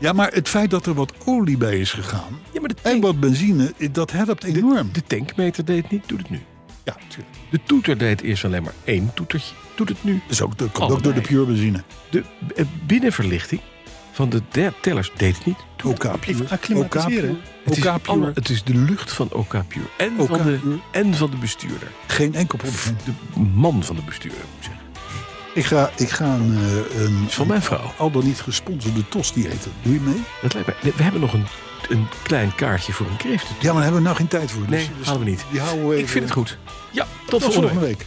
Speaker 2: Ja, maar het feit dat er wat olie bij is gegaan
Speaker 3: Ja, maar de,
Speaker 2: en
Speaker 3: tank-
Speaker 2: wat benzine, dat helpt enorm.
Speaker 3: de tankmeter deed het niet. Doet het nu.
Speaker 2: Ja, natuurlijk.
Speaker 3: De toeter deed eerst alleen maar één toetertje. Doet het nu.
Speaker 2: Dus ook, dat komt
Speaker 3: Allebei.
Speaker 2: ook door de pure benzine.
Speaker 3: De eh, binnenverlichting van de der- tellers deed het niet.
Speaker 2: OK Pure.
Speaker 11: Acclimatiseren.
Speaker 2: OK Pure.
Speaker 3: Het is,
Speaker 2: OK Pure.
Speaker 3: alle- het is de lucht van OK Pure. En,
Speaker 2: OK
Speaker 3: van de,
Speaker 2: Pure.
Speaker 3: en van de bestuurder.
Speaker 2: Geen enkel probleem.
Speaker 3: De man van de bestuurder, moet ik zeggen.
Speaker 2: Ik ga, ik ga een, eh, een,
Speaker 3: Van mijn vrouw.
Speaker 2: al dan niet gesponsorde tosti eten. Doe je mee?
Speaker 3: Dat lijkt mij. We hebben nog een, een klein kaartje voor een kreeft.
Speaker 2: Ja, maar daar hebben we nou geen tijd voor.
Speaker 3: Nee,
Speaker 2: dus, dus
Speaker 3: halen we niet.
Speaker 2: die houden we
Speaker 3: Ik vind het goed. Ja, tot
Speaker 2: Tot
Speaker 3: volgende
Speaker 2: volgende
Speaker 3: week.
Speaker 2: week.